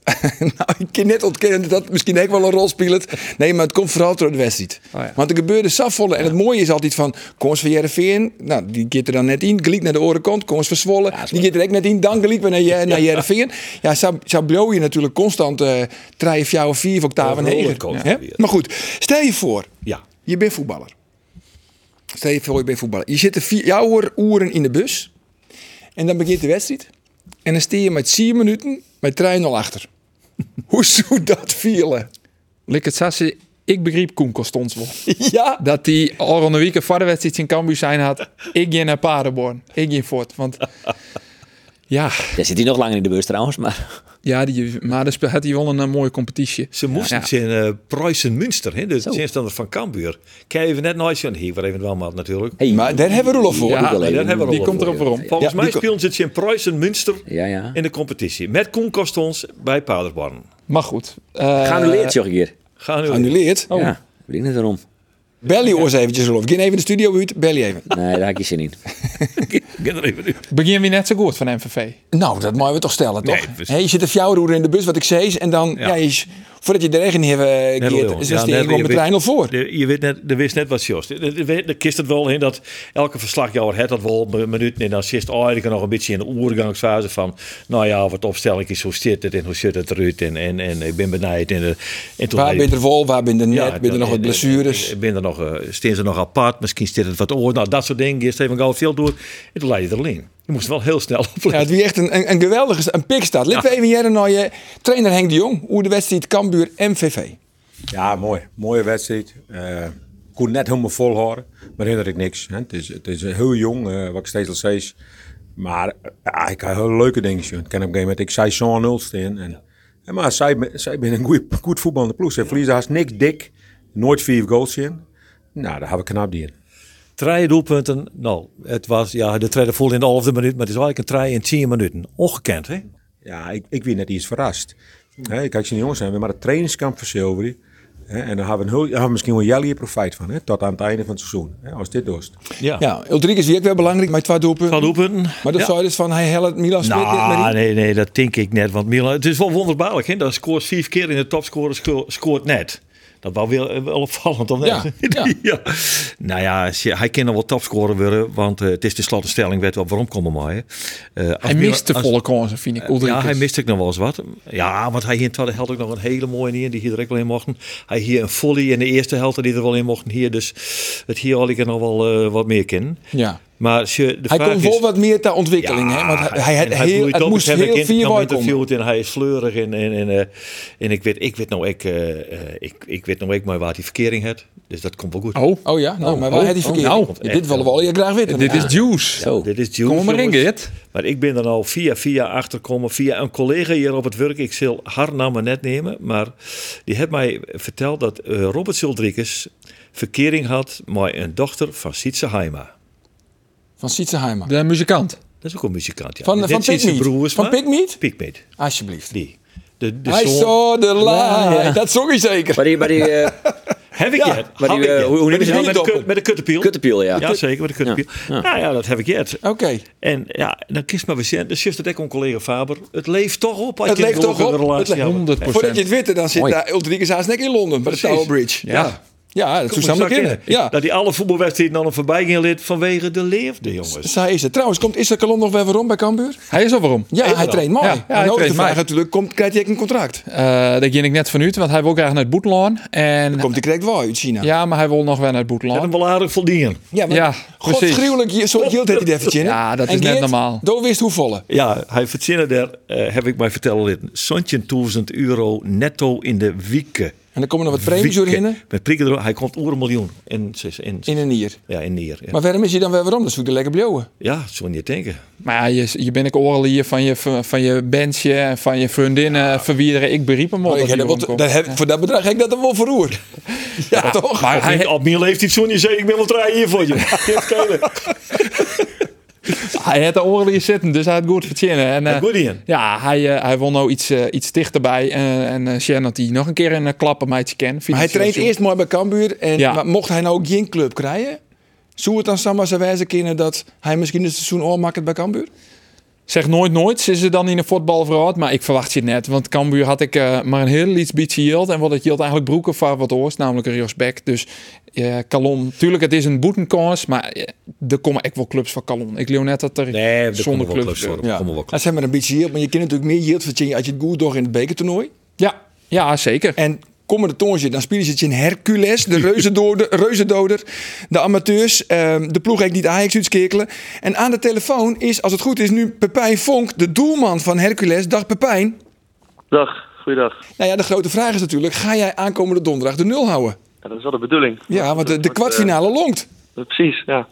A: [LAUGHS] Nou, ik kan net ontkennen dat dat misschien ook wel een rol speelt. Nee, maar het komt vooral door de wedstrijd.
F: Oh ja.
A: Want er gebeurde safvolle. En het mooie is altijd van, komst van Jereveen, nou, die gaat er dan net in. Geliek naar de orenkant, komst van Zwolle, die gaat er ook net in. Dan geliek weer naar, Jer- naar Jereveen. Ja, zou, zou blow je natuurlijk constant eh drie, vier of vier of octaven en
D: Een
A: heger.
D: rollercoaster
A: Hè?
D: weer.
A: Maar goed, stel je voor,
D: Ja.
A: je bent voetballer. Stel je voor, je bent voetballer. Je zit er vier jouw uren in de bus. En dan begint de wedstrijd. En dan steer je met 4 minuten met 3-0 achter. Hoe zou dat vielen?
F: Lik het Sassi, ik begreep Koen Kostons wel.
A: Ja,
F: dat die al een week voor de wedstrijd in Cambuur zijn had. Ik ging naar Paderborn. Ik ging voort. Want ja,
E: Daar zit hij nog langer in de beurs trouwens, maar
F: ja die, maar dan spe- had hij wel een, eh, mooie competitie.
D: Ze moesten
F: Ja.
D: in eh, Preußen Münster, hè, de tegenstander van Cambuur. Kijk even net nooit zien. Hier, waar even wel maar natuurlijk.
E: hey,
A: maar daar hebben we Roelof voor.
F: Ja,
E: ook wel
D: Maar
E: even.
D: daar hebben we
F: Die
D: al wat
F: komt
D: voor,
F: erop
D: ja.
F: rond.
D: Volgens
A: Ja,
D: mij
A: die ko-
D: speelden ze dus in Preußen Münster
E: Ja, ja.
D: in de competitie. Met Koen Kostons bij Paderborn.
F: Maar goed. eh,
E: Geannuleerd, zeg ik hier.
D: Gaan we
A: Annuleert.
E: Ja, daar weet ik net waarom.
A: Bel je oors eventjes, Roelof. Geen even de studio uit, bel je even.
E: Nee, daar heb ik je
A: [LAUGHS]
E: zin in.
D: Gaan er even uit.
F: Begin weer net zo goed van MVV.
A: Nou, dat mogen we toch stellen, toch?
D: Nee, precies.
A: Hey, je zit een fjouwer in de bus, wat ik zei. En dan, ja. je is- voordat je de regen heeft, eh,
D: Net
A: keert,
D: al,
A: is
D: ja,
A: de
D: net al,
A: gewoon
D: je
A: met 3-0
D: weet-
A: voor.
D: De- Je weet net, de wist net wat Joost. De kist het wel in dat elke verslagjouwer het dat wel een minuut en dan zit oh, ik nog een beetje in de oergangsfase van, nou ja, wat opstelling is, hoe zit het en hoe zit het eruit en, en, en ik ben benijd en, eh, en toen
A: Waar ben je er vol, waar ben je er net, ben je er
D: dan-
A: nog wat
D: en- en-
A: blessures.
D: en- Ben er nog, eh, staan ze nog apart, misschien zit het wat oor, nou dat soort dingen. Eerst even gauw veel door en toen leid je er alleen. Je moest wel heel snel [LAUGHS]
A: Ja, het
D: opletten.
A: wie echt een, een, een geweldige een pikstad. Laten we even jaren naar je trainer Henk de Jong. Hoe de wedstrijd Cambuur MVV.
I: Ja, mooi. Mooie wedstrijd. Eh, Ik kon net helemaal volhouden, maar hinder ik niks. Hè. Het, is, het is heel jong, eh, wat ik steeds al zei. Maar eh, ja, ik had heel leuke dingen zien. Ik ken op een gegeven moment, ik zei zo'n nul staan. En, en maar zij, ben- zij ben een goeie, goed voetballende ploeg. Ze verliezen haast niks dik. Nooit vier goals in. Nou, daar hebben we knap die in.
D: Drie doelpunten, nou, het was, ja, de treden vol in de halve minuut, maar het is eigenlijk een trein in tien minuten. Ongekend, hè?
I: Ja, ik, ik werd net iets verrast. Hè, ik had zien, jongens, we hebben maar het trainingskamp van Silvery. Hè, en dan hebben we, een heel- daar hebben we misschien wel jullie profijt van, hè, tot aan het einde van het seizoen. Hè, als dit doorst.
D: Ja.
A: Ja, Ulrik is hier ook wel belangrijk met twee doelpunten.
D: Van doelpunten.
A: Maar dat
D: Ja.
A: zou dus van hij helpt Milan Smit dit met
D: Nou,
A: die-
D: nee, nee, dat denk ik net. Want Milan, het is wel wonderbaarlijk. Hè? Dat scoort vier keer in de topscorer, sco- scoort net. Dat was wel, eh, wel opvallend. Of net?
A: Ja,
D: [LAUGHS]
A: ja.
D: Nou ja, als je- hij kan nog wel topscorer worden. Want eh, het is tenslotte de stelling, werd wel waarom komen maar. Eh,
F: Hij miste volle kansen, vind ik. Ulrikes.
D: Ja, hij miste ook nog wel eens wat. Ja, want hij hier in de tweede helft ook nog een hele mooie in, die hier direct wel in mochten. Hij hier een volley in de eerste helft, die er wel in mochten hier. Dus het hier had ik er nog wel eh, wat meer kennen.
A: Ja.
D: Maar als je de
A: Hij
D: vraag
A: kon
D: is-
A: wel wat meer ter ontwikkeling. hè? Want hij, hij, had
D: en
A: heel,
D: bloeit
A: het
D: op.
A: moest
D: Ik heb een
A: heel
D: kind
A: vier
D: nou
A: mooi komen.
D: interviewd en hij is sleurig en, en, en, eh, en ik weet, ik weet nou ik, eh, eh, ik, ik weet nou ik maar waar die verkering had. Dus dat komt wel goed.
F: Oh,
A: Oh ja, nou,
F: Oh,
A: maar waar
F: oh,
A: had hij
F: oh,
A: verkeerd?
F: nou.
A: Ja, dit willen we al je graag weten.
F: dit is Juice.
E: Zo.
D: Dit is
F: Kom
D: Jules,
F: er maar in,
D: jongens.
F: Geert.
D: Maar ik ben er al via via achterkomen, via een collega hier op het werk. Ik zal haar namen net nemen, maar die heeft mij verteld dat eh, Robert Sildrikes verkering had met een dochter van Sietse Haima.
A: Van Sietseheimer.
F: De muzikant.
D: Dat is ook een muzikant, ja.
A: Van-
D: Net
A: van
D: Sietse
A: Pinkmeat?
D: Broers,
A: Van
D: maar-
A: Pinkmeat?
D: Pinkmeat,
A: Alsjeblieft.
D: die. De, de
A: Hij
D: zoon-
A: saw the light.
E: ja.
A: Dat zong hij zeker.
E: Maar die, maar die eh,
D: Heb ik
A: Ja,
D: het?
E: maar die,
D: Heb ik
E: eh,
D: het?
E: hoe- hoe
D: met,
E: noemen ze
D: de,
E: dat?
D: met, de, kut- met de kuttenpiel.
E: kuttepiel, ja.
D: Ja, zeker, met de kuttenpiel. Nou ja, dat heb ik het.
A: Oké.
D: En ja, dan kiest maar weer Dus juist dat ik een collega Faber. Het leeft toch op. als
A: Het
D: je een
A: leeft toch
D: gelukkige
A: op. Het
D: relatie
A: leeft
D: hebt.
F: 100%.
A: Voordat je het witte, dan zit
E: Mooi.
A: daar Ulrike Zaasnek in Londen. Bij de
D: Precies.
A: Tower Bridge.
D: Ja.
A: Ja, dat toestanden kinderen. Ja.
D: Dat die alle voetbalwedstrijden dan een voorbij ging lid vanwege de leefde, jongens.
A: Zij is het. Trouwens, komt Isser Kalom nog weer waarom bij Cambuur?
F: Hij is al waarom.
A: Ja, hij traint mooi.
F: Ja, ja,
A: En
F: hij
A: ook de
F: traint
A: vraag
F: mooi.
A: natuurlijk, komt, krijgt hij ook een contract?
F: Eh daar ging ik net van uit, want hij wil graag naar het Boetlaan. En
A: Komt hij krijgt wel uit China?
F: ja, maar hij wil nog wel naar het
D: En een
F: Boetlaan.
D: beladen voldienen.
A: Ja, maar
F: Ja,
A: godsgruwelijk je- zo hield het hij even in.
F: Ja, dat is net normaal.
A: Doe wist hoe volle.
D: Ja, hij verzinnen daar, eh, heb ik mij vertellen dit, zontje 1000 euro netto in de wieken.
A: En dan komen er wat premies doorheen
D: Met prikken erop, hij komt over een miljoen. In, in,
A: in een hier.
D: ja, in neer. Ja,
A: Maar waarom is hij dan weer waarom? Dat is natuurlijk lekker blauwe.
D: ja zo niet denken.
F: Maar ja, je, je bent ik oorlog hier van je, van je bandje, en van je vriendinnen, van wie er- ik beriep hem
A: Maar
F: al.
A: Oh, ik
F: dat
A: heb
F: hij
A: dat wel-
F: omkomt.
A: dat heb- Voor dat bedrag heb ik dat dan wel verroerd. Ja, toch?
F: maar hij,
D: Op mijn leeftijd zo'n je zei, ik ben wel draaien hier voor je. Geef kelen.
F: Hij had de oren hier zitten, dus hij had goed verzinnen. En, eh,
D: Had goed in.
F: Ja, hij, eh, hij wil nou iets, eh, iets dichterbij. En, en eh, Sjen dat hij nog een keer een eh, klap op meidje kent.
A: Maar hij traint eerst mooi bij Cambuur. En,
F: Ja.
A: maar mocht hij nou ook geen club krijgen... Zou het dan Samba zijn wijze kunnen dat hij misschien het seizoen oormaakt bij Cambuur?
F: Zeg nooit nooit, ze is er dan in de voetbal verhaald. Maar ik verwacht je net, want Cambuur had ik eh, maar een heel iets beetje hield. En wat het hield eigenlijk broeken van wat oors, namelijk een respect. Dus eh Calon, tuurlijk het is een boetenkans, maar eh, er komen echt wel clubs van Calon. Ik leeuw net dat er
D: Nee, er
F: zonder
D: komen wel
F: clubs...
D: clubs voor.
A: Ja.
D: Kom maar wel.
A: Dat zijn maar een beetje yield, maar je kunt natuurlijk meer yield verdienen als je het goed doet in het bekertoernooi.
F: ja, ja, zeker.
A: En komende tongetje, dan spelen ze het in Hercules, de reuzendoder, reuzendoder de amateurs, ehm, de ploeg heeft niet Ajax uitskekelen. En aan de telefoon is, als het goed is, nu Pepijn Vonk, de doelman van Hercules. Dag Pepijn.
J: Dag, goeiedag.
A: Nou ja, de grote vraag is natuurlijk, ga jij aankomende donderdag de nul houden?
J: Ja, dat is wel de bedoeling.
A: Ja, want de, de
J: wordt,
A: kwartfinale longt.
J: eh, precies, ja.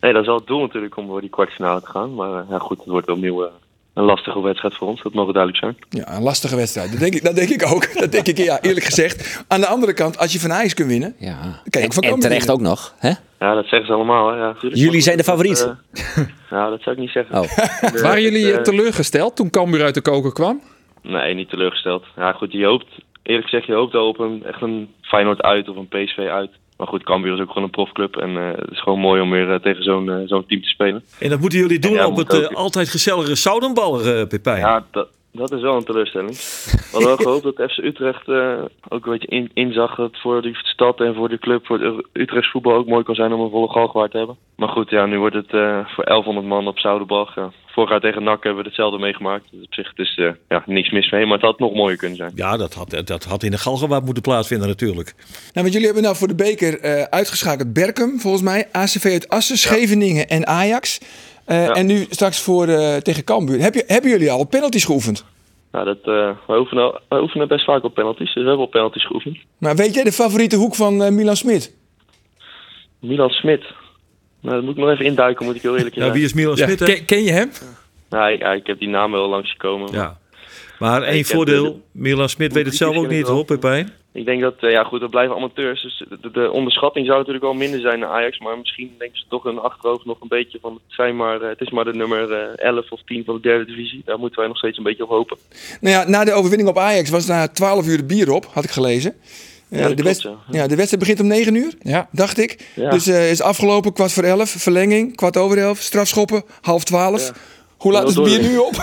J: Nee, dat is wel het doel natuurlijk om voor die kwartfinale te gaan. Maar eh, ja, goed, het wordt opnieuw eh, een lastige wedstrijd voor ons. Dat mogen duidelijk zijn.
A: Ja, een lastige wedstrijd. Dat denk ik, dat denk ik ook. Dat denk ik, ja, eerlijk gezegd. Aan de andere kant, als je van Ajax kunt winnen,
E: Ja.
A: Kijk,
E: En,
A: van
E: en
A: Cambuur.
E: terecht ook nog. Hè?
J: Ja, dat zeggen ze allemaal. Hè. Ja, natuurlijk.
E: Jullie
J: Maar
E: zijn de
J: goed, dat,
E: favoriet.
J: eh, nou, dat zou ik niet zeggen.
E: Oh.
J: Eh,
F: Waren jullie eh,
J: eh,
F: teleurgesteld toen Cambuur uit de koker kwam?
J: Nee, niet teleurgesteld. Ja, goed, je hoopt, eerlijk gezegd, je hoopt al op een, echt een Feyenoord uit of een PSV uit. Maar goed, Cambuur is ook gewoon een profclub. En eh, het is gewoon mooi om weer eh, tegen zo'n eh, zo'n team te spelen.
D: En dat moeten jullie doen
J: Ja,
D: op
J: moet
D: het eh,
J: ook.
D: altijd gezellige Zoudenballer, eh Pepijn.
J: Ja, dat, dat is wel een teleurstelling. We hadden wel gehoopt dat FC Utrecht eh, ook een beetje in, inzag dat het voor de stad en voor de club, voor het Utrechts voetbal ook mooi kan zijn om een volle galgwaard te hebben. Maar goed, ja, nu wordt het eh, voor 1100 man op Zoudenbach. Ja. Vorig jaar tegen NAC hebben we hetzelfde meegemaakt. Dus op zich het is eh, ja, niks mis mee, maar het had nog mooier kunnen zijn.
D: Ja, dat had, eh, dat had in de Galgenwaard moeten plaatsvinden natuurlijk.
A: Nou, want jullie hebben nou voor de beker eh, uitgeschakeld Berkum, volgens mij. ACV uit Assen, Scheveningen en Ajax. Eh, En nu straks voor, eh, tegen Cambuur. Heb je, hebben jullie al op penalties geoefend?
J: Nou, dat, eh wij, oefenen, al- wij oefenen best vaak op penalties, dus we hebben op penalties geoefend.
A: Maar weet jij de favoriete hoek van eh, Milan Smit?
J: Milan Smit. Nou, dat moet ik nog even induiken, moet ik heel eerlijk
D: Ja,
J: zijn.
D: wie is Milan Smit? hè?
F: Ken, ken je hem?
J: Nou, ja, ik heb die naam wel langs gekomen. maar-
D: Ja. Maar
J: ik
D: één
J: heb
D: voordeel,
J: de-
D: Milan Smit weet het zelf ook niet hoor, Pepijn.
J: Ik denk dat, eh, ja goed, dat blijven amateurs. Dus de, de onderschatting zou natuurlijk wel minder zijn naar Ajax. Maar misschien denken ze toch in hun achterhoofd nog een beetje van... Het, zijn maar, eh, het is maar de nummer eh, 11 of 10 van de derde divisie. Daar moeten wij nog steeds een beetje op hopen.
A: Nou ja, na de overwinning op Ajax was na 12 uur de bier op, had ik gelezen. Eh,
J: dat
A: de,
J: klopt,
A: wedst- ja. de wedstrijd begint om 9 uur,
F: Ja.
A: dacht ik.
J: Ja.
A: Dus eh, is afgelopen, kwart voor 11, verlenging, kwart over 11, strafschoppen, half 12. Hoe laat
J: Heel
A: is het bier
J: door.
A: nu op?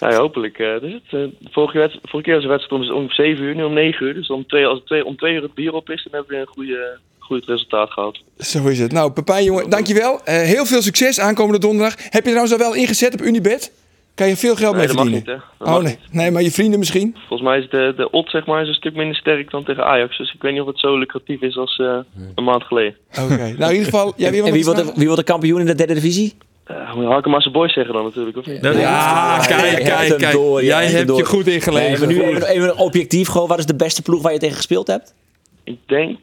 J: Nou ja, hopelijk. eh, dus het, eh, vorige, wedst- vorige keer was de wedstrijd om, om 7 uur, nu om 9 uur. Dus om 2, als het twee, om 2 uur het bier op is, dan hebben we weer een goede, goed resultaat gehad.
A: Zo is het. Nou, Pepijn, jongen, dankjewel. Eh, heel veel succes aankomende donderdag. Heb je trouwens al wel ingezet op Unibet? Kan je veel geld mee
J: Nee, dat mag
A: verdienen?
J: niet, hè. Dat
A: oh
J: mag
A: nee.
J: niet.
A: nee, maar je vrienden misschien?
J: Volgens mij is de, de odd zeg maar, is een stuk minder sterk dan tegen Ajax. Dus ik weet niet of het zo lucratief is als eh, een maand geleden.
A: Oké.
J: [LAUGHS]
A: nou, in ieder geval. Ja,
E: En,
A: wie wil nog
E: wie wordt
A: iets
E: de, wie wordt de kampioen in de derde divisie?
J: Eh moet je Harkema's boys zeggen dan natuurlijk, of niet?
D: Nou,
F: Ah,
E: hij
F: kijk,
E: heeft
F: kijk,
E: hem
F: kijk.
E: door, ja, hij
F: Jij
E: heeft hem
F: hebt je
E: door.
F: goed
E: Nee, maar
F: ingeleverd.
E: nu even, even objectief, gewoon, wat is de beste ploeg waar je tegen gespeeld hebt?
J: Ik denk,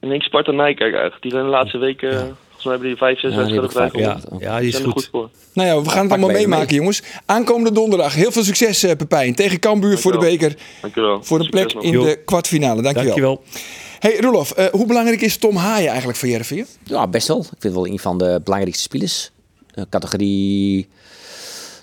J: ik denk Sparta Nijkerk eigenlijk. Die zijn de laatste weken, volgens mij hebben die vijf, zes
E: Ja, die hebben
J: wedstrijden gelijk
E: vaak,
J: gewonnen.
E: ja.
D: Ja, die
J: Die
D: is
J: zijn er goed
D: goed.
J: voor.
A: zeggen? Nou ja, we gaan het allemaal
E: mee
A: meemaken, jongens. Aankomende donderdag. Heel veel succes, eh, Pepijn. Tegen Cambuur voor de
J: Dankjewel.
A: beker.
J: Dankjewel.
A: Voor een plek
J: Succes nog.
A: in de kwartfinale. Dankjewel.
D: Dankjewel.
A: Hey, Roelof, eh, hoe belangrijk is Tom Haaien eigenlijk voor Jervin?
E: Ja, best wel. Ik vind het wel een van de belangrijkste spelers. Eh, categorie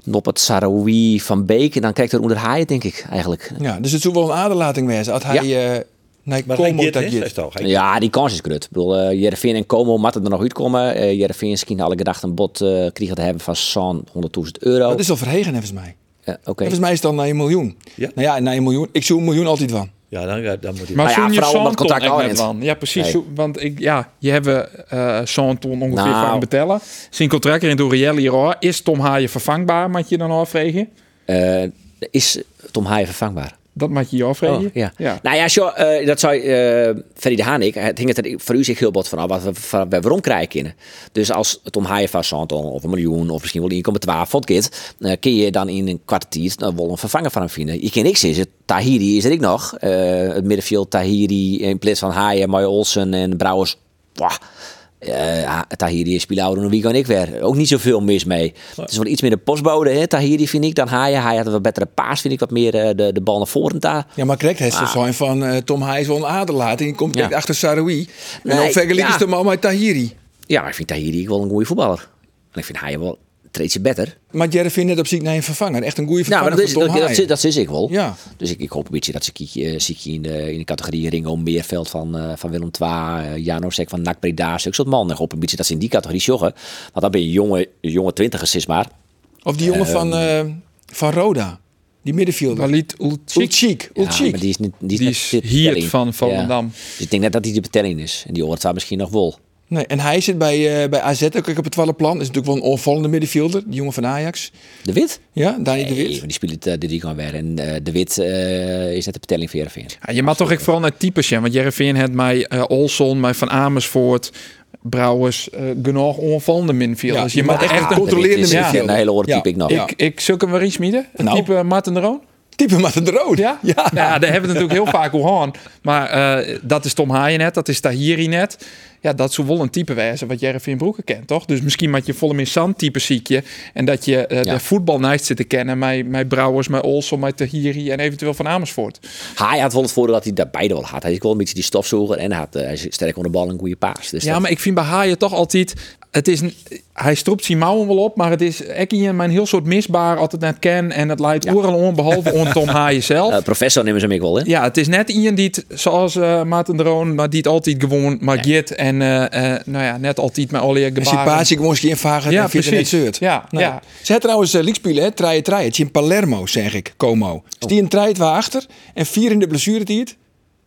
E: Noppert, Sarawi, Van Beek. En dan kijkt er onder Haaien, denk ik, eigenlijk.
A: Ja, dus het zou wel een aderlating wezen. Had hij... eh Nee,
D: Maar
A: Como
D: hij
A: dat
D: dit, hè,
A: je.
D: zei toch? Hij-
E: Ja, die kans is groot. Ik bedoel, eh Jervin en Como moeten er nog uitkomen. Eh Jervin misschien alle gedacht een bod eh kregen te hebben van zo'n 100.000 euro.
A: dus- Dat is al verhegen, volgens mij.
E: Eh, Oké.
A: dus- Volgens mij is het dan naar een miljoen.
D: Ja.
A: Nou ja, naar een miljoen. Ik zoek een miljoen altijd van.
D: Ja, dan, ja, dan moet hij.
F: Maar
E: Nou ja,
F: zoen je
E: vooral omdat
F: Santon
E: contact
F: ook
E: al
F: net
E: is.
F: dan? Ja, precies.
E: Nee.
F: zo- Want ik, ja, je hebt eh Santon ongeveer
E: Nou.
F: van betellen. Zijn contract in Doriel hier al. Is Tom Haaien vervangbaar, moet je dan afvragen?
E: Eh, is Tom Haaien vervangbaar?
F: Dat moet je je afvragen.
E: Oh, ja.
F: ja.
E: Nou ja, zo, eh, dat zou eh Ferry de Haan ik. Het hing het er voor u zich heel wat van af wat we van- we waarom krijgen kunnen. Dus als Tom Haaien van Santon of een miljoen of misschien wel 1,12 van het kind, eh, kun je dan in een kwartier dan wel een vervanger van hem vinden. Je kent niks is het. Tahiri is er ik nog. Eh, het middenveld Tahiri in plaats van Haaien, Mooi Olsen en Brouwers. Wah. Eh, Tahiri, Spilauro en Wiego en ik weer. Ook niet zoveel mis mee. Het is wel iets meer de postbode, hè, Tahiri vind ik, dan Haaien. Haaien had een wat betere paas, vind ik, wat meer eh, de, de bal naar voren daar.
A: Ja, maar correct, het is zo van eh, Tom Hij is wel een aderlaat. En die komt
E: Ja.
A: direct achter Saroui. En
E: Nee,
A: dan vergelijk
E: ja.
A: je hem al met Tahiri.
E: Ja, ik vind Tahiri wel een goede voetballer. En ik vind Haaien wel een treedtje beter.
A: Maar Jerry vindt net op ziek naar een vervanger. Echt een goede
E: Nou,
A: vervanger
E: maar dat is,
A: voor
E: dat,
A: Tom
E: dat,
A: Haaien.
E: dat is ik wel.
A: Ja.
E: Dus ik, ik hoop een beetje dat ze kie- eh, zie ik in de, in de categorie Ringo Meerveld van, eh, van Willem II, eh, Janosek van NAC Breda, zulke soort man. Ik hoop een beetje dat ze in die categorie joggen. Want dan ben je jonge, jonge twintigers, is maar.
A: Of die jongen van, eh, van Roda. Die middenvelder.
F: Walid Ulchik.
A: Ulchik.
E: Ja, maar
A: Ulchik.
E: die is, niet, die is,
F: Die
E: net
F: is
E: de
F: hier
E: betelling.
F: van Volendam.
E: Dus ik denk net dat hij de betelling is. En die hoort daar misschien nog wel.
A: Nee, en hij zit bij, eh, bij AZ ook op het twaalfde plan. Is natuurlijk wel een onvallende middenvelder. Die jongen van Ajax.
E: De Wit?
A: Ja, Dani de
E: Nee,
A: Wit.
E: maar die speelt eh, de Rico weer. En eh, De Wit eh, is net de betelling voor Heerenveen.
F: Ja, je mag toch echt vooral naar types, ja. Want Jereveen het mij eh, Olson, mij Van Amersfoort, Brouwers, eh genoeg onvallende minfield. Dus je mag echt
E: De
F: een
E: Wit is-
F: middenvelder.
E: Een hele oren
A: Ja.
E: type ik nog.
F: Ik, ik zulke hem weer iets midden. Het
A: Nou.
F: type eh, Martin de Roon.
A: Type Martin de Rood.
F: Ja? Ja. Nou, ja, daar hebben we natuurlijk heel vaak over gehad. Maar eh, dat is Tom Haaien net, dat is Tahiri net. Ja, dat zou wel een type wijzen wat Jervin Broeken kent, toch? Dus misschien met je volle in zand type ziekje. En dat je eh,
E: Ja.
F: de voetbal naast zit te kennen. Mijn, mijn Brouwers, mijn Olson, mijn Tahiri en eventueel van Amersfoort.
E: Hij had wel het voordeel dat hij daar beide wel had. Hij is wel een beetje die stofzoger en hij, had, eh, hij is sterk onder de bal en een goede paas. Dus
F: Ja,
E: dat-
F: maar ik vind bij Haaien toch altijd... Het is, een- hij stroept zijn mouwen wel op, maar het is Ekkie en mijn heel soort misbaar altijd net ken. En het leidt overal om, [LAUGHS] behalve om Tom Haaien zelf.
E: Eh, professor nemen ze hem ik wel, hè?
F: Ja, het is net iemand die het, zoals eh Maarten Droon, maar die het altijd gewoon maar jit en eh, eh, nou ja, net altijd met Olie
A: En zit
F: gebaren.
A: Pasik moest je invagen
F: Ja,
A: en vindt het net
F: precies.
A: zeurt.
F: Ja,
A: Nou,
F: ja.
A: Ze had trouwens uh, liekspielen, hè? Traien, traien. Het is in Palermo, zeg ik, Como. Dus die een treit waar achter en vier in de blessuretijd.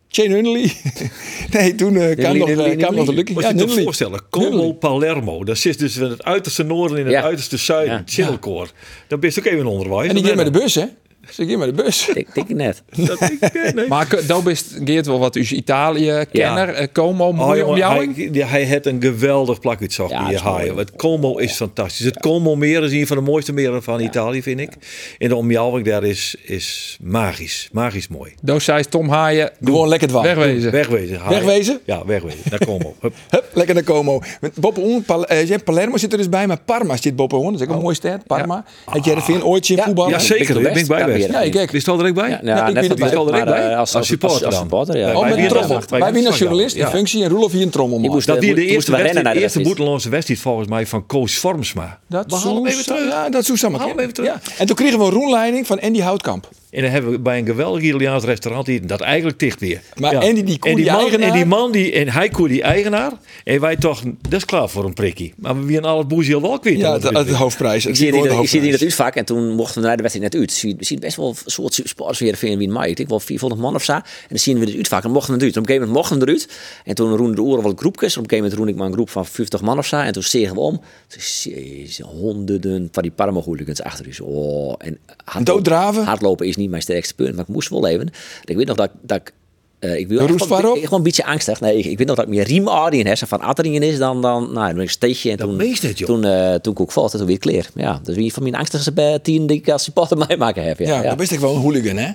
A: Jane Hunley. [LAUGHS] nee, toen eh kwam nog, eh, kwam nog de lucky.
D: Moet
A: Ja,
D: je je toch
A: Hunley.
D: voorstellen, Como Palermo, dat zit dus in het uiterste noorden en in het
E: Ja.
D: uiterste zuiden,
E: Ja.
D: Chilcoor. Dan ben je ook even onderwijs.
A: En die ging met de bus, hè? Ze ging met de bus.
E: Ik denk het net.
D: Dat, ik, nee.
F: Maar k- dat is Geert wel wat is Italië-kenner. eh Como,
D: Oh,
F: mooi om
D: jongen,
F: jou. in?
D: hij, die- hij heeft een geweldig plakje zag
E: Ja,
D: die
E: is mooi,
D: haaien.
E: hè?
D: Want Como is fantastisch. Het Como meer is een van de mooiste meren van Italië, vind ik. En de omjouwing daar is, is magisch. Magisch mooi.
F: Doos zei Tom Haaien,
A: Gewoon lekker dwang.
F: wegwezen.
D: Wegwezen. haaien.
A: Wegwezen?
D: Ja, wegwezen. Naar Como. Hup.
A: Hup, lekker naar Como. Met Boppehoorn, Pal- eh, ja, Palermo zit er dus bij, maar Parma zit Boppehoorn. Dat is ook een mooie stad, Parma. Had jij er ooit zien voetballen?
D: Ja, zeker.
E: de
D: Daar ben ik bij
E: best. Ja,
D: geweest.
E: ben
A: je er. Ja, kijk.
D: Is het al direct bij?
E: Ja, nou,
A: ik
E: net
A: weet
E: als
A: het
D: wel.
E: maar,
D: Maar,
E: eh, als,
D: als supporter dan.
E: supporter, ja.
D: Ja,
A: Oh,
D: Wij
A: met
D: winnen
A: trommel.
D: dat. Wij
A: Wij winnen
D: winnen
A: als journalist
D: dat.
A: in
D: Ja.
A: functie en Roelof hier een trommel
E: Die moest-
D: Dat die
E: Toen
D: de
E: moesten
D: eerste,
E: we rennen
D: wedstrijd,
E: naar de
D: eerste
E: wedstrijd.
D: buitenlandse wedstrijd volgens mij van Koos Vormsma.
A: Dat
D: we halen hem even
A: Soesa-
D: terug.
A: Ja, dat Soesa maar
D: Haal hem even terug.
A: Ja. En toen kregen we een roenleiding van Andy Houtkamp.
D: En dan hebben we bij een geweldig Italiaans restaurant hier, dat eigenlijk dicht weer.
A: Maar Andy, die koe,
D: en
A: die
D: man,
A: eigenaar.
D: En die man, die, en hij koe, die eigenaar. En wij toch, dat is klaar voor een prikkie. Maar we winnen al het boezje al wel kwijt.
A: Ja,
D: Dat
A: de,
D: weet
A: de hoofdprijs.
E: Ik zit, in, ik zit in het uitvak en toen mochten we naar de wedstrijd net uit. Zie- We zien best wel een soort supporters weer in Wien Mai. Ik denk wel 400 man of zo. En dan zien we het uitvak en mochten we eruit. En op een gegeven moment mochten we eruit. En toen roemden de oren wel groepjes. Op een gegeven moment roemde ik maar een groep van 50 man of zo. En toen zegen we om. Toen jezus, honderden van die parma hooligans achter u. Oh, en hardlopen,
A: Dooddraven?
E: Hardlopen is niet mijn sterkste punt, maar ik moest wel even. En ik weet nog dat, ik- dat ik... eh, ik wil
A: De
E: echt
A: roest
E: wel-
A: waarop?
E: ik- Gewoon een beetje angstig. Nee, ik, ik weet nog dat ik meer riemadien heb. Van Adrien is dan, dan, nou, dan ben ik steekje. En
D: Dat
E: toen,
D: meest het, joh.
E: toen, eh, toen ik ook valt, toen weer kleer. Ja, dus wie van mijn angstigste bij tien die ik als supporter [LAUGHS] meemaken heb. Ja,
A: Ja,
E: ja.
A: dan ben ik wel een hooligan, hè?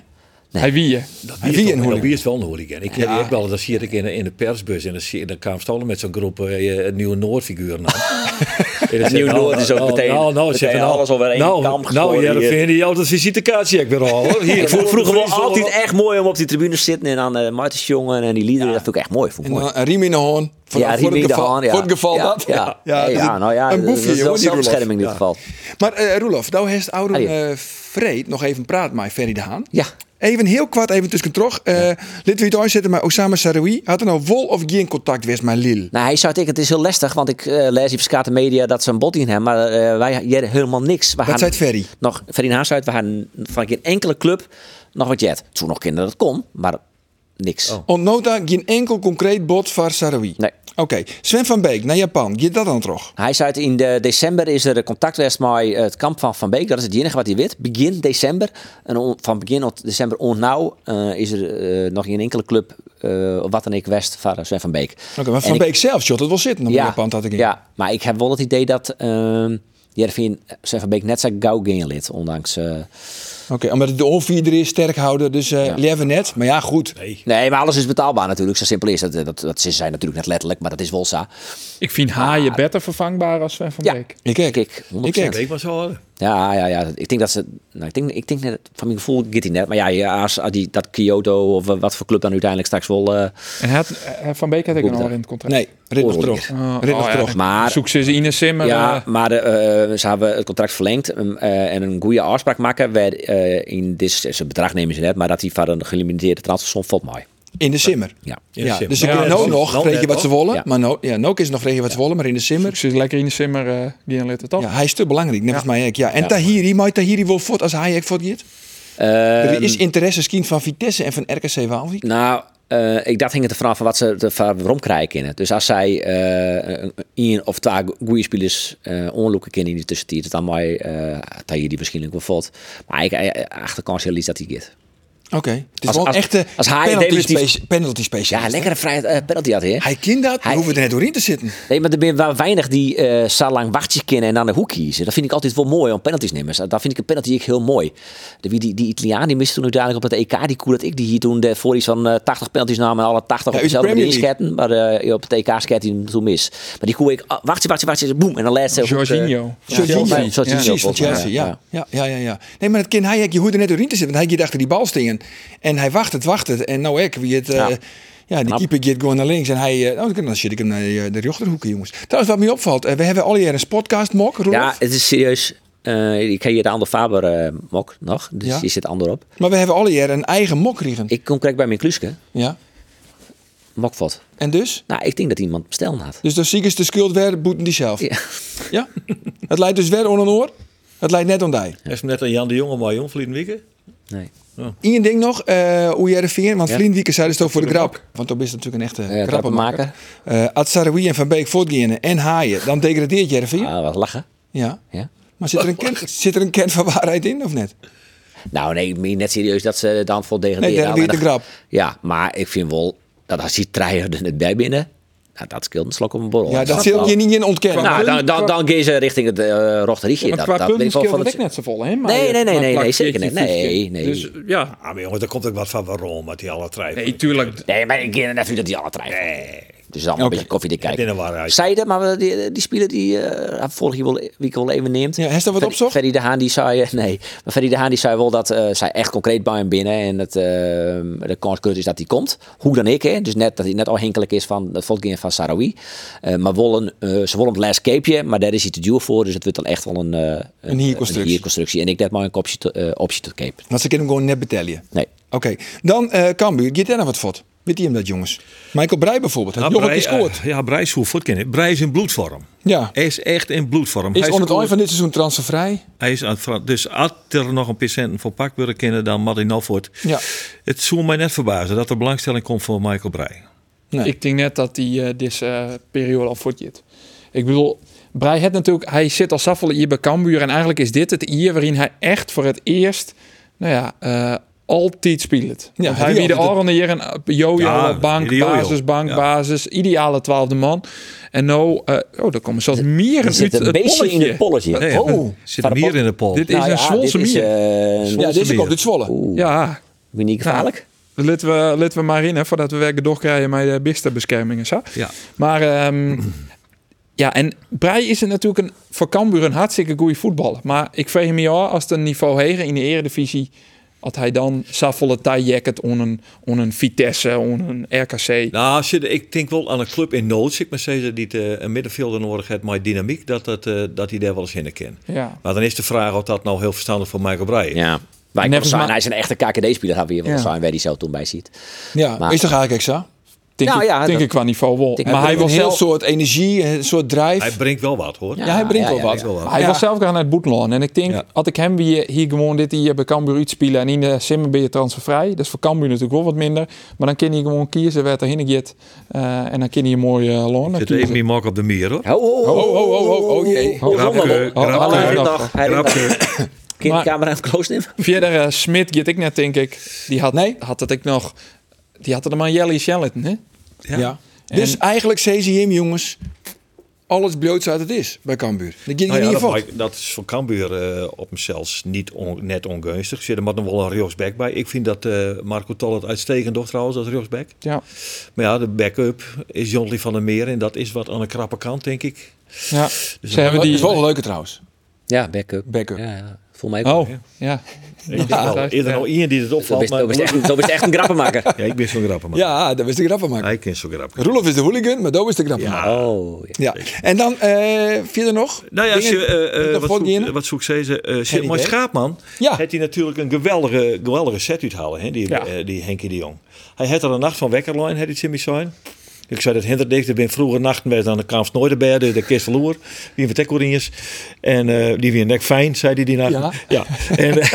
F: Hij wie je?
D: Dat
A: Wie
D: bier
A: een
D: toch- dat
A: hooligan?
D: bier is wel een hooligan. Ik ken die echt wel, dat zie ik in, de- in de persbus. En dan, zie, dan kwam Stoller met zo'n groep eh, een nieuwe Noord-figuur aan. En dan
E: Nieuwe
D: zegt,
E: Noord is ook
D: nou,
E: meteen-
D: Nou, nou,
E: meteen
D: zegt hij, nou,
E: alles over één
D: nou,
E: kam
D: Nou,
E: gegooid
D: ja, dan
E: hier.
D: vind je altijd visitekaartje ik weer al. hoor. Hier,
E: Ik vond het vroeger wel altijd
D: echt.
E: echt mooi om op die tribune te zitten en dan eh Martens jongen en die liederen. Dat vond ik echt mooi. Vond ik
A: En
E: mooi.
A: dan Nou, een riem in de hoorn. Voor,
E: ja,
A: voor,
E: Remy
A: het
E: de
A: geval,
E: Haan, ja.
A: voor het geval
E: ja,
A: dat. [LAUGHS]
E: Ja, ja,
A: dat is
E: ja, nou ja,
A: een boefje, jongen,
E: dat is wel
A: die Roelof.
E: zelfbescherming in dit geval.
A: Maar eh Roelof, nou heeft Auron
E: Ah, ja.
A: eh Freed nog even praat met Ferry de Haan.
E: Ja.
A: Even heel kwart, even tussen trog. Eh Lid we het aanzetten, maar Osama Saroui had er nou wol of geen contact geweest met Lille.
E: Nou, hij zou denken, het is heel lastig, want ik eh, lees in verschillende media dat ze een bot in hebben, maar eh, wij jaren helemaal niks. We hadden
A: zei Ferry?
E: Nog, Ferry Haas uit, we hadden van geen enkele club nog wat jet. Toen nog kinderen dat kon, maar Niks.
A: Ontnota geen enkel concreet bod voor Sarawi.
E: Nee.
A: Oké, Sven van Beek naar Japan. Geet dat dan terug?
E: Hij zei het in de december is er contact geweest met eh, het kamp van Van Beek. Dat is het enige wat hij weet. Begin december. En on- van begin tot december ontnauw eh is er eh, nog geen enkele club eh, wat dan ik west van Sven van Beek.
A: Oké, maar
E: En
A: Van
E: ik-
A: Beek zelf shot het wel zitten om
E: ja,
A: Japan dat ik in.
E: Ja, maar ik heb wel het idee dat ehm Jervin Sven van Beek net zo gauw geen lid. Ondanks... eh,
A: Oké, omdat het de onvierder is, sterk houden, dus eh leven net. Maar ja, goed.
E: nee, maar alles is betaalbaar natuurlijk. Zo simpel is dat. eh, Dat, dat ze zijn natuurlijk net letterlijk, maar dat is wel zo.
F: Ik vind haaien beter vervangbaar als Sven van
E: Ja.
F: Beek.
A: Ik kijk.
E: Kijk, 100%.
A: Ik kijk.
D: Ik was al.
E: Ja, ja, ja. Ik denk dat ze. Nou, ik denk, ik denk net, van mijn gevoel gaat hij net. Maar ja, ja, als, als die, dat Kyoto of eh, wat voor club dan uiteindelijk straks wel. eh,
F: En had, eh, van Beek had ik
E: Goed
F: een al
E: dag.
F: in het contract.
A: Nee, rit nog
E: Oh,
A: terug.
F: Oh,
A: Rit nog
F: oh ja.
A: terug.
E: maar.
F: Zoek ze eens Ines Simmer.
E: ja,
F: eh,
E: maar de, eh, ze hebben het contract verlengd um, eh, en een goede afspraak maken. Waar, eh, in dit zijn bedrag nemen ze net, maar dat die van een gelimiteerde transfersom valt mij.
A: In de simmer.
E: Ja.
A: Ja,
D: simmer.
A: dus ze
D: Ja,
A: kunnen
D: dat
A: ook
D: is-
A: nog,
D: dat
A: vreet je
D: net,
A: wat ze willen.
E: Ja.
A: Maar no, ja, Nook is nog, vreet je wat ze willen, maar in de simmer.
F: zoek ze eens lekker Ines Simmer. eh die aan letten, toch?
A: Ja, hij is te belangrijk, net als mij ook. Ja. En Tahiri, maar Tahiri wil voort als hij ook voort gaat?
E: Eh,
A: er is interesse misschien van Vitesse en van RKC Waalwijk.
E: Nou, eh, ik dacht hing het er vanaf van wat ze er waarom krijgen in het. Dus als zij eh, een één of twee goede spelers eh onloeken kunnen in de tussentijd, dan mag je eh, Tahiri misschien ook wel valt. Maar ik eh, achterkant heel iets dat hij gaat.
A: Oké. Het is
E: Als-
A: wel een
E: als-
A: echte
E: als hij
A: penalty,
E: definitief-
A: speci- penalty specialist.
E: Ja,
A: hè?
E: lekkere vrijheid eh, penalty had hij. hè?
A: Hij kind dat,
E: Hij-
A: hoeven we er net doorheen te zitten.
E: Nee, maar er zijn wel weinig die eh zo lang wachtjes kennen en dan de hoek kiezen. Dat vind ik altijd wel mooi om penalties te nemen. Dat vind ik een penalty ook heel mooi. De, wie die, die Italiaan die miste toen uiteindelijk op het EK die koe dat ik die hier toen de voor iets van eh, 80 penalties nam en alle 80
A: Ja,
E: op
A: uit de
E: dezelfde manier
A: Premier
E: sketten. Maar eh, op het EK skette hij hem toen mis. Maar die koe ik, ah, wachtje, wachtje, wachtje, boem. En dan laatste. op, eh, Ja,
F: Jorginho.
E: Jorginho.
A: Jorginho.
E: Jorginho,
A: Precies, van
E: volgens mij,
A: Chelsea. Ja. Ja. Ja, ja, ja. Nee, maar dat kind hij, je hoort er net doorheen te zitten. Want hij gaat achter die bal stingen. En hij wacht het, wacht het. En nou ik, wie het... eh, ja.
E: Ja.
A: die
E: Knap.
A: keeper gaat gewoon naar links en hij... eh, Nou, dan zit ik hem naar eh, de rechterhoeken, jongens. Trouwens, wat mij opvalt, eh, we hebben al jaren een podcast, Mok, Roelof.
E: Ja, het is serieus. Eh, ik heb hier de Ander Faber eh, mok nog. Dus
A: Ja.
E: die zit ander op.
A: Maar we hebben al jaren een eigen Mok kregen.
E: Ik kom correct bij mijn kluske.
A: Ja.
E: Mokvot.
A: En dus?
E: Nou, ik denk dat iemand bestellen had.
A: Dus dan zie ik eens de schuld weer, boeten die zelf. Ja.
E: Ja.
A: het leidt dus weer on een oor. Het leidt net om die.
D: Is hem net aan Jan de Jonge maar jong verleden weekend?
E: Nee.
A: Eén ding nog, eh hoe jij ervan, want
E: Ja.
A: vriendwieken zei dus toch voor de grap. Want dan is het natuurlijk een echte
E: Ja,
A: krappenmaker.
E: krappenmaker.
A: Eh als Saroui en Van Beek voortgaan en haaien, dan degradeert Jervin.
E: Ah, wat lachen.
A: Ja.
E: Ja.
A: Maar zit er, een kern, [LAUGHS] zit er een kern van waarheid in of net?
E: Nou, nee, ik meen net serieus dat ze dan vol degraderen.
A: Nee, dat
E: Nou,
A: is de
E: maar
A: grap.
E: Ja, maar ik vind wel dat als die treier er net bij binnen, nou, dat scheelt een slok op een borrel.
A: Ja, dat zul je niet in ontkennen.
E: Nou, dan, dan, dan gaan ze richting het eh Rochterietje.
F: Want
E: Dat,
F: qua
E: dat
F: punten
E: weet ik wel
F: scheelt
E: van
F: het
E: het-
F: ook net zo vol, hè? Maar eh,
E: Nee,
F: je-
E: nee, nee,
F: maar
E: nee,
F: plak
E: nee,
F: jeetje,
E: zeker niet.
F: fietsje.
E: Nee, nee.
F: Dus ja,
D: Ah, maar jongen, daar komt ook wat van waarom met die alle trein.
F: nee, tuurlijk.
E: Nee, maar ik ken even dat die alle treier. Nee. Dus dan een beetje koffiedik
D: binnen
E: kijken.
D: waarheid.
E: Zeiden, maar die, die speler die eh vorig jaar wel, week wel even neemt.
A: Ja, heeft er wat
E: Ferry-
A: opzocht?
E: Ferry de Haan die zei, eh, nee, maar Ferry de Haan die zei wel dat eh, zij echt concreet bij hem binnen en dat eh, de kans groot is dat hij komt. Hoe dan ik, hè? dus net dat hij net afhankelijk is van het volgende van Sarawi. Eh, maar wollen, eh, ze willen het last capeje, maar daar is hij te duur voor, dus het wordt dan echt wel een, eh,
A: Een hierconstructie.
E: hierconstructie. En ik net maar een optie te, eh, optie te cape.
A: Want ze kunnen hem gewoon net betellen.
E: Nee.
A: Oké, dan eh Cambuur. Geet er nog wat voor. Weet hij hem dat, jongens? Michael Breij bijvoorbeeld. Hij nog een keer
B: eh,
A: scoort.
D: ja, Brijs hoe voet kennen. Brijs is in bloedvorm.
A: Ja.
D: Hij is echt in bloedvorm.
A: Is
D: Hij
A: onder het eind
D: scoort-
A: van dit seizoen transfervrij?
D: Hij is aan het veranderen. Dus als er nog een patiënt voor pak willen kennen, dan Martin Alvoort.
A: Ja.
D: Het zou mij net verbazen dat er belangstelling komt voor Michael Breij.
A: Nee.
F: Ik denk net dat hij eh deze eh, periode al voortjit. Ik bedoel, Brei het natuurlijk, hij zit al saffel hier bij Cambuur. En eigenlijk is dit het hier waarin hij echt voor het eerst, nou ja, eh, altijd speelt.
A: Ja,
F: Want
A: hij
F: hij wie de
A: altijd-
F: oranje hier een eh, jojo,
D: Ja,
F: op bank,
D: die jojo.
F: basis, bank,
D: Ja.
F: basis. Ideale twaalfde man. En nou, eh, oh, daar komen zelfs meer
E: Er
F: uit
E: zit een
F: het
E: beestje in
F: polletje.
E: het polletje.
D: Nee,
A: Oh.
D: Zit hem hier in de pol.
F: Dit is
E: Nou ja,
F: een Zwolse
E: dit is,
F: mier.
E: eh,
A: Ja, deze
D: Zwolle
A: komt uit Zwolle.
E: Oeh,
F: Ja,
E: ben je niet gevaarlijk?
F: Laten we, laten we maar in, hè, voordat we werken doorkrijgen met de bisterbeschermingen. Zo.
D: Ja.
F: Maar ehm, ja, en Brei is het natuurlijk een, voor Cambuur een hartstikke goede voetballer. Maar ik vraag me af, als het een niveau heger in de eredivisie... had hij dan Saffolle Jacket on een, on een Vitesse, on een RKC.
D: Nou, als je, de- ik denk wel aan een club in nood. Ik maar zeggen die eh, een middenvelder nodig heeft, maar dynamiek, dat, dat, eh, dat hij daar wel eens in kan.
F: ja.
D: Maar dan is de vraag of dat nou heel verstandig voor Michael Breij is.
E: Ja. Maar ik
F: Net
E: wil
F: als
E: zijn,
F: Ma-
E: hij is een echte KKD-speler, gaan we hier wel
F: Ja.
E: zijn, waar hij zo toen bij ziet.
A: Ja,
E: Maar-
A: is toch eigenlijk zo?
F: Denk,
E: Nou
F: ik,
E: ja,
F: denk
E: dat-
F: ik qua niveau wel.
E: denk
F: maar
E: ik
F: hij
E: wel.
F: wil
A: een heel
F: zelf...
A: soort energie, een soort
D: Hij
A: drive.
D: brengt wel wat hoor.
E: Ja.
D: Ja.
F: Ja, hij
E: ja,
F: brengt wel
E: ja,
F: wat.
D: ja, ja.
F: Maar Hij
A: Ja.
F: was zelf gaan naar het Boetenland. En ik denk,
D: Ja.
F: had ik hem weer hier gewoon dit hier bij Cambuur uitspelen en in de Simmen ben je transfervrij. Dat is voor Cambuur natuurlijk wel wat minder. Maar dan kan hij gewoon kiezen waar hij heen gaat. Eh, en dan kan hij een mooie uh, loon
D: Zit even die mak op de mier hoor.
E: Ho, ho, ho,
A: Oh, oh, oh, oh, oh jee.
E: ho, ho, ho, ho.
D: Grapke,
F: Hallo,
E: Hij
F: hallo.
D: grapke,
E: rent nog, hij rent nog.
D: grapke.
E: Kun je de
F: Maar-
E: camera even close nemen?
F: Verder, eh, Smit, get ik net, denk ik. Die had,
A: Nee?
F: had dat ik nog. Die had er maar Jelly Shellington, hè?
A: Ja. Dus eigenlijk CCM jongens, alles bloot uit het is bij Cambuur. Dat ging
D: Nou
A: in
D: ja,
A: ieder
D: dat,
A: geval.
D: maakt- dat is voor Cambuur eh, op mezelf niet on- net ongunstig. Zit er maar nog wel een rechtsback bij. Ik vind dat eh, Marco Tol het uitstekend doet trouwens als rechtsback.
F: Ja.
D: Maar ja, de backup is Jonty van der Meer en dat is wat aan de krappe kant denk ik. Dus nou,
F: ja. Ze hebben
A: Dat
F: die.
A: is wel een leuke trouwens.
E: Ja, backup.
A: Backup.
E: Ja, ja. Volgens mij ook.
F: Oh, ja.
D: Ik ben
F: [LAUGHS]
D: wel eerder al iemand die het
E: Dat
D: opvalt.
E: is-
D: Maar
E: Dat is echt- dat is echt een grappenmaker.
D: ja, ik ben zo'n grappenmaker.
A: Ja, dat was de grap van maken.
D: Hij kent zo'n grappen.
A: Roelof is de hooligan, maar Doe is de grap van maken.
E: Oh,
A: Ja.
E: ja.
A: En dan eh verder nog.
D: Nou ja, als je,
A: Dingen-
D: eh, eh,
A: nog
D: wat,
A: voortgaan?
D: zoek, wat zoek ze? ze, eh Sip Mooi
A: idee.
D: Schaapman
A: Ja.
D: heeft hij natuurlijk een geweldige, geweldige set uithalen, hè, die,
F: Ja.
D: eh, die Henkie de Jong. Hij had er een nacht van wekkerlijn, had hij Jimmy zijn. Ik zei dat Hinderdijk, ik ben vroeger nachten bij aan de Kamps nooit erbij, de, de Kist verloor, wie van Tekkorinjes. En eh, die weer nek fijn, zei hij die nacht.
A: Ja.
D: En, eh,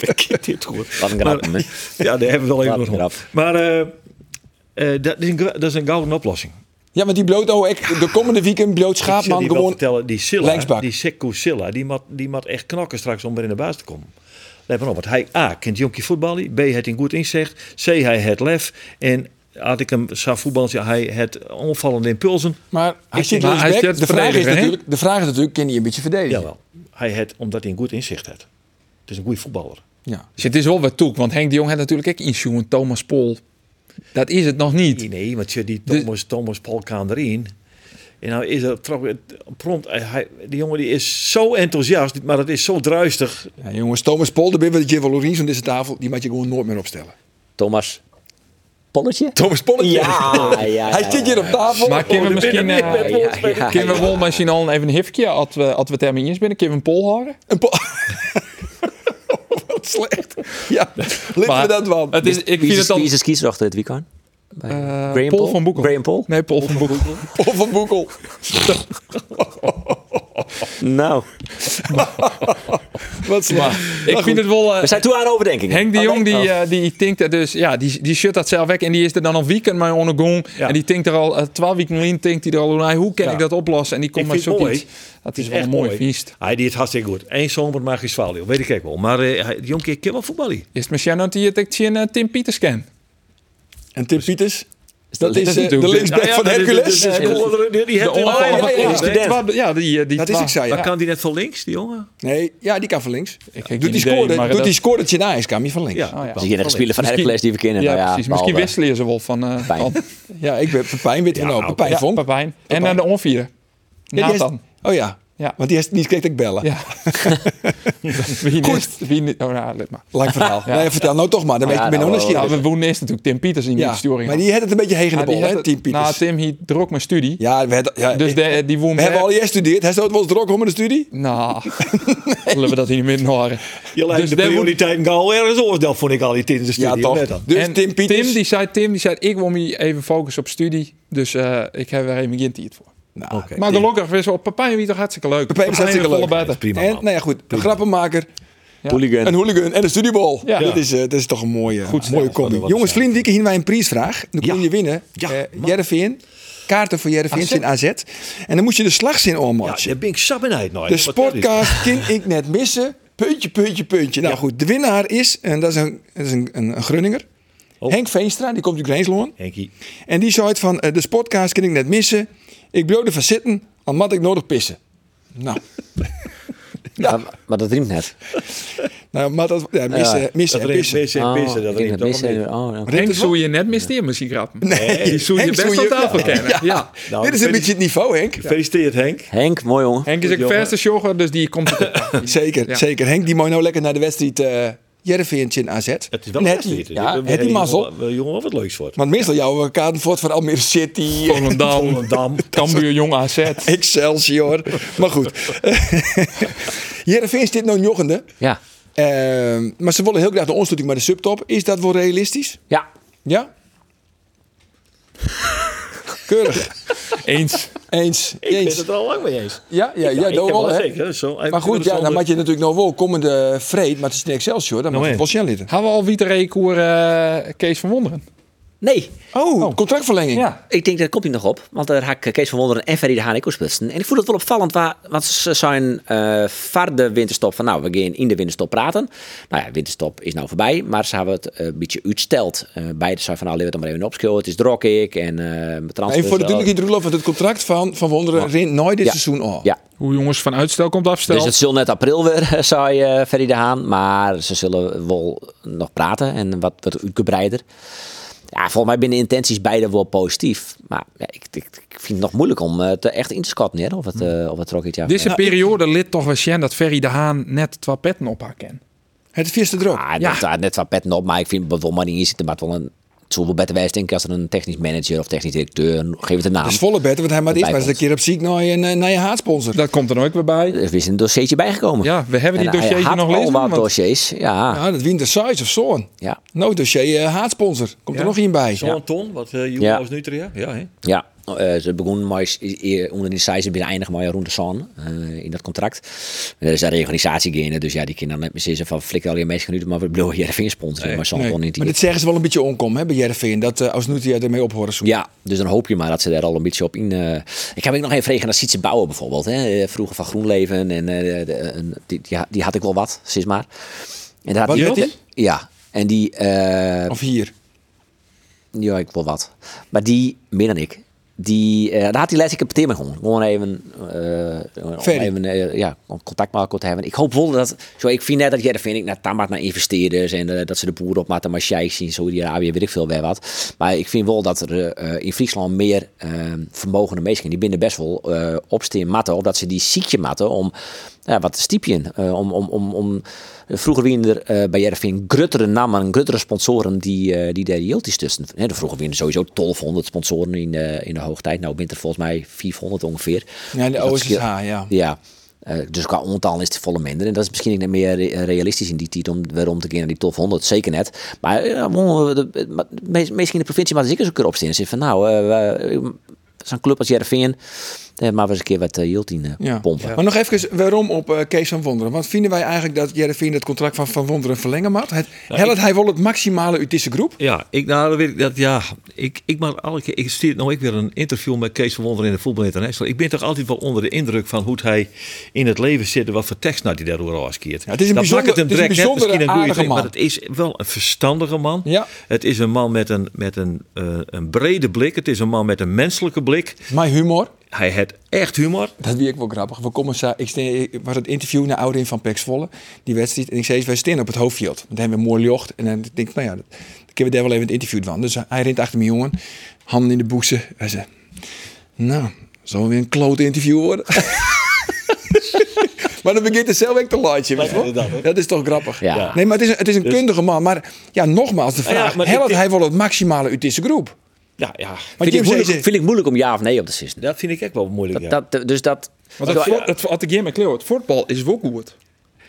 D: ik ken dit goed.
E: Wat een grap, hè?
D: Ja, daar hebben we wel even
E: Wat een
D: nog om.
E: grap.
D: Maar eh, eh, dat, is een, ge- dat is een gouden oplossing.
A: Ja, want die bloot oh, ik, de komende weekend bloot
D: Ik zal
A: Schaapman
D: je wel
A: gewoon.
D: vertellen, die Silla,
A: linksback.
D: die Sekou Silla, die mat, die mat echt knakken straks om weer in de baas te komen. Let maar op, want hij A, kent jonkie voetballen, B, het in goed inzicht, C, hij het lef en had ik hem zou voetballen, zei hij het onvallende impulsen.
A: Maar hij zit
F: Maar hij
A: linksback. De
F: zit
A: vraag is
F: verdediger, hè?
A: natuurlijk, de vraag is natuurlijk, kan hij een beetje verdedigen?
D: Jawel, hij het omdat hij een goed inzicht had. Het is een goede voetballer.
A: Ja.
F: Dus het is wel wat toek, want Henk de Jong had natuurlijk ook insuwen, Thomas Pol. Dat is het nog niet.
D: Nee, nee, want je die
F: Dus-
D: Thomas, Thomas Paul kan erin. En nou is er trok- prompt, hij, die jongen die is zo enthousiast, maar dat is zo druistig.
A: Ja, jongens, Thomas Pol, de Bibber, Jim Lorenz aan deze tafel, die mag je gewoon nooit meer opstellen.
E: Thomas Polletje?
A: Thomas Pol,
E: Ja, ja.
A: [LAUGHS] hij zit hier op tafel.
F: Maar
D: Oh,
F: kunnen we misschien, eh,
E: ja,
F: kunnen we wel misschien al even een hifje, als we, als we het ermee eens binnen, kunnen we een pol horen?
A: Een Pol- [LAUGHS] Wat slecht. Ja, laten we dat wel.
F: Het is, ik
E: Wie
F: vind
E: is
F: het
E: de-
F: dan...
E: wie is de kiesrachter dit weekend?
F: eh,
E: Graham
F: Paul van Boekel.
E: Graham Paul?
F: Nee, Paul van Boekel.
A: Paul van Boekel.
E: Nou,
A: Wat slecht.
F: Ik vind het wel... eh,
E: we zijn Ah, toe aan overdenking.
F: Henk de Jong, die, eh, die denkt dat dus, ja, die, die shut dat zelf weg en die is er dan al weekend mee ondergong. En die denkt er al, eh, twaalf weken in, denkt hij er al, nou, hoe kan ik dat oplossen? En die komt
D: Ik
F: met
D: vind het
F: zoiets.
D: mooi.
F: Dat is wel een mooi feest.
D: Hij deed het hartstikke goed. Eén zomer mag je zwaluw, weet ik ook wel. Maar eh, hij- die jonkie kan wel voetballen.
F: Is misschien dat hij het tegen eh, Tim Pieters kent.
A: En Tim Pieters, dat is eh,
F: natuurlijk-
A: de linksback
D: Nou ja,
A: van
D: dat is-
A: Hercules.
D: dat is-
A: Nee,
D: dat is- die- Die
F: De
D: heeft
F: ongeval-
D: hij-
A: ja, ja, ja.
F: die twa- ja, die, eh, die
A: Dat is
F: twa-
A: ik zei.
D: Maar
A: ja.
D: kan die net van links, die jongen?
A: Nee, ja, die kan van links.
F: Ik
A: Doet
F: heb
A: die
F: geen idee,
A: scoren,
F: maar
A: doet
F: dat-
A: die scoretje na is, kan hij van links.
D: Ja.
E: Zie je de spelen van
F: Misschien-
E: Hercules die we kennen?
F: Ja,
E: nou ja,
F: precies. Misschien
E: behalve-
F: wisselen ze wel van... eh,
E: Pijn.
F: van-
A: Ja, ik ben Pepijn weet van ook. Pepijn
F: Ja,
A: vond.
F: Papijn. En eh, de onvieren.
A: Ja, die
F: Nathan.
A: heeft- Oh ja.
F: Ja.
A: Want die, heeft, die kreeg ik bellen.
F: Ja. wie niet? Wie niet? Oh, nou, laat maar.
A: Lang verhaal.
F: Ja.
A: Nee, vertel nou toch maar. Dan weet
E: Ja,
A: je, ben je
E: nou,
A: nog een
F: Nou,
A: keer.
F: we wonen eerst natuurlijk Tim Pieters in die
A: dus- Ja,
F: sturing.
A: maar die had het een beetje heen in de
F: Ja, die
A: bol, hè,
F: had-
A: Team Pieters.
F: Nou, Tim, hier druk mijn studie.
A: Ja, we, hadden- ja,
F: Dus
A: ik-
F: de, die woont...
A: we hebben al je gestudeerd. Hij staat wel eens druk om in de studie. [LAUGHS]
F: Nou, willen we dat hier niet meer horen.
D: Je
F: Dus
D: lijkt de
F: daar moet-
D: prioriteit gauw ergens anders. Dat vond ik al die tijd in de studie.
A: Ja, toch.
D: Let dan.
A: Dus
F: En
A: Tim Pieters.
F: Tim die, zei, Tim, die zei, ik wil me even focussen op studie. Dus eh, ik heb er even geen tijd voor.
A: Nou,
D: Oké.
F: Maar gelukkig is op Papijn wie toch hartstikke leuk.
A: Pepijn is hartstikke
F: volle
A: leuk.
F: baten.
D: Prima,
A: en,
D: man.
A: nou ja, goed. Een grappenmaker,
E: Hooligan.
A: een hooligan en een studiebal.
F: Ja.
A: Dat, is, eh, dat is toch een mooie, mooie combi.
D: wat
A: Jongens,
D: zijn.
A: vrienden, hier wij een prijsvraag. Dan kun
D: Ja.
A: je winnen.
D: Ja,
A: Eh,
D: man.
A: Jereveen. Kaarten voor Jereveen in AZ. En dan moet je de slagzin
D: Ja,
A: ommatchen.
D: daar ben ik sap nou, in uit.
A: De sportkaart kan ik net missen. Puntje, puntje, puntje. Nou goed, de winnaar is, en dat is een, dat is een, een, een Grunninger.
D: Oh.
A: Henk Veenstra, die komt uit Greensloon.
D: Henkie.
A: En die zei het van, eh, de sportkaart kan ik net missen. Ik bleef ervan zitten, al moet ik nodig pissen. Nou,
E: Maar, maar dat riemt net.
A: nou maar dat, ja, missen,
E: Ja,
A: missen
D: Dat
A: en
D: is
A: pissen.
D: pissen en pissen.
E: Ah, ik
D: Dat
E: denk
D: riemt toch
E: missen.
D: niet.
E: Oh, ja.
F: Henk zou je net mist in misschien grappen. Nee, die zou je
A: Henk
F: best
A: zou
F: op
A: je-
F: tafel kennen. Ja.
D: Nou,
A: Dit is een
D: gefeliciteerd-
A: beetje het niveau, Henk.
D: Gefeliciteerd Henk.
E: Henk, mooi jongen.
F: Henk is
D: Goed,
F: ook
D: jongen.
F: verste jogger, dus die komt
A: [LAUGHS]
F: er ook aan.
A: Zeker,
F: Ja.
A: zeker. Henk, die mooi nou lekker naar de wedstrijd eh Jereveen in AZ.
D: Het is wel
A: En
D: een
A: het die-
D: wedstrijd. dus
A: Ja,
D: Ik ben
A: het die
D: blij dat
A: mazzel.
D: jongen- wel jongen wat leuks wordt.
A: Want meestal jouw kaarten voort van Almere City.
F: Volendam,
D: Volendam.
F: Cambuur, Jong AZ.
A: [LAUGHS] Excelsior. maar goed. [LAUGHS] Jereveen zit nou jochende.
E: Ja.
A: Ehm, maar ze willen heel graag de ontsluiting met de subtop. Is dat wel realistisch?
E: Ja.
A: Ja? Keurig.
F: Eens.
A: Eens.
D: Ik ben
A: Eens.
D: het er al lang mee eens.
A: Ja, ja, ja,
D: ik
A: dat
D: heb
A: wel, hè.
D: zeker. Zo,
A: Maar goed, ja, dan moet je natuurlijk nog wel komende vreed, maar het is een Excelsior, dan moet je
D: Nou,
A: het wel snel litten.
F: Hadden we al Wieter eh Kees van Wonderen?
E: Nee,
A: Oh, contractverlenging.
F: Ja.
E: ik denk dat komt niet nog op. Want daar haak ik Kees van Wonderen en Ferry de Haan ik ook splitsen. En ik vond het wel opvallend, waar, want ze zijn eh var de winterstop van nou, we gaan in de winterstop praten. Nou ja, winterstop is nou voorbij, maar ze hebben het eh, een beetje uitsteld. Eh beide zijn van nou, laten we het maar even opschillen. Het is drok ik en eh transfer.
A: Even voor de duidelijkheid, Roelof, want het contract van Van Wonderen rint nooit dit
E: Ja.
A: seizoen al.
E: Ja,
F: Hoe jongens van uitstel komt afstel.
E: Dus het zal net april weer, [LAUGHS] zei eh Ferry de Haan. Maar ze zullen wel nog praten en wat, wat uitgebreider. Ja, volgens mij binnen intenties beide wel positief. Maar ja, ik, ik, ik vind het nog moeilijk om eh, te echt in te schatten hè, of het, eh, of het trok dit jaar.
F: Mm. Dit is een periode lid toch wel Sjen dat Ferry de Haan net twee petten op haar kent.
A: Het vierste druk.
E: Ah,
F: Ja.
E: net, ah, net wat petten op, maar ik vind bijvoorbeeld maar niet zitten, maar het wel een het zou wel beter wijs denken als er een technisch manager of technisch directeur, geef het een naam.
A: Dat is volle bed, want hij maar eerst maar eens een keer op ziek naar je, eh, naar je haatsponsor.
F: Dat komt er ook weer bij.
E: Er is een dossiertje bijgekomen.
F: Ja, we hebben die
E: En eh, hij
F: dossiers
E: had
F: nog
E: al
F: liggen.
E: wat
F: want-
E: dossiers, ja. ja.
A: Ja, dat wint de size of zo'n.
E: ja.
A: Nou, dossier eh, haatsponsor. Komt er nog één bij.
D: Zo'n ton, wat uh, Jules
E: Ja.
D: was Nutria. Ja, hè?
E: Ja, eh, ze begonnen maar onder de size binnen eindigen maar rond de zon eh, in dat contract. En Er is een reorganisatie gaande, dus ja, die kinderen net met z'n van flikker al je meest minuten, maar we blijven Jervin sponsoren, maar zo'n
A: Nee.
E: kon niet.
A: Maar dit zeggen ze wel een beetje onkom, hè, bij Jervin. Dat eh Ausnutia ermee ophoren zoekt.
E: Ja, dus dan hoop je maar dat ze daar al een beetje op in. eh, Ik heb ook nog even vregen naar Sietse Bouwen bijvoorbeeld. Hè. eh, Vroeger van Groenleven en eh, de- een- die, die, ha- die had ik wel wat, sinds maar. En daar had
A: Wat
E: die-
A: werd die?
E: Ja, en die, eh,
A: Of hier.
E: Ja, ik wil wat. Maar die, meer dan ik, die, eh, daar had hij letterlijk een partij mee gewoon. Gewoon even, eh, om
A: Ferry.
E: even eh, ja, om contact met elkaar te hebben. Ik hoop wel dat, zo, ik vind net dat jij vind ik naar Tamat naar investeerders en eh, dat ze de boeren opmaken, maar sheiks in Saudi-Arabië, weet ik veel weer wat. Maar ik vind wel dat er eh, eh, in Friesland meer eh, vermogende mensen zijn. Die binnen best wel eh opsteen matten, omdat ze die ziekje matten om ja, wat stiepjen. eh om, om, om, om, vroeger wien er eh, bij Jervin gruttere namen en gruttere sponsoren die, eh, die de Jilties tussen. Hè, de vroeger wien er sowieso 1200 sponsoren in, de in de hoogtijd. Nou, bent er volgens mij 400 ongeveer.
A: Ja,
E: Dus
A: de
E: dat
A: OSH,
E: scheelt-
A: ja.
E: ja. Eh, dus qua ontaal is het volle minder. En dat is misschien niet meer re- realistisch in die titel om waarom te gaan naar die top 100. Zeker net. Maar eh, ja, wonen we de- maar meest- meestal in de provincie maar zeker zo'n keer opstaan. Zit van nou, eh, we- zo'n club als Jervin, eh, maar we eens een keer wat uh, in eh,
A: Ja.
E: pompen.
A: Maar nog even waarom op eh, Kees van Wonderen. Want vinden wij eigenlijk dat Jervin het contract van Van Wonderen verlengen mag? Het, helpt hij wel het maximale uit deze groep?
D: Ja, ik, nou, dat weet ik, dat, ja, ik, ik maak alle keer, ik stuur nou ik weer een interview met Kees van Wonder in de Voetbal International. Ik ben toch altijd wel onder de indruk van hoe hij in het leven zit en wat voor tekst nou die daardoor afkeert.
A: Ja, het is een
D: dat maakt het
A: bijzonder-
D: hem
A: het is een
D: direct net
A: bijzondere
D: misschien een goede
A: aardige
D: tekst,
A: man.
D: maar het is wel een verstandige man.
A: Ja.
D: Het is een man met een, met een, eh, een brede blik. Het is een man met een menselijke blik.
A: Mijn humor.
D: Hij heeft echt humor.
A: Dat wie ik wel grappig. We komen, sa- ik ste- ik was het interview naar Oudin van Pek Zwolle, die wedstrijd. En ik zei, wij staan op het hoofdveld. Want hij hebben mooi jocht. En dan denk ik, nou ja, dat, dan kunnen we daar wel even het interview van. Dus hij rent achter mijn jongen, handen in de boezem. Hij zei, nou, zal weer een klote interview worden. [LAUGHS] maar dan begint het zelf ook te laatje. weet je wel. Dat is toch grappig.
E: Ja. Ja.
A: Nee, maar het is, een- het is een
F: Dus-
A: kundige man. Maar ja, nogmaals, de
F: Nou
D: ja,
A: vraag,
D: maar dit-
A: helpt
D: dit-
A: hij wel het maximale uit deze groep?
D: Ja, ja.
A: Want
E: Vind ik,
A: Jim zei,
E: moeilijk,
A: ze-
E: vind ik moeilijk om ja of nee op te sissen.
D: Dat vind ik echt wel moeilijk. ja.
E: Dat, dat, dus dat...
F: Want het, vo- het, had ik hier met Cleo, het voetbal is wel goed.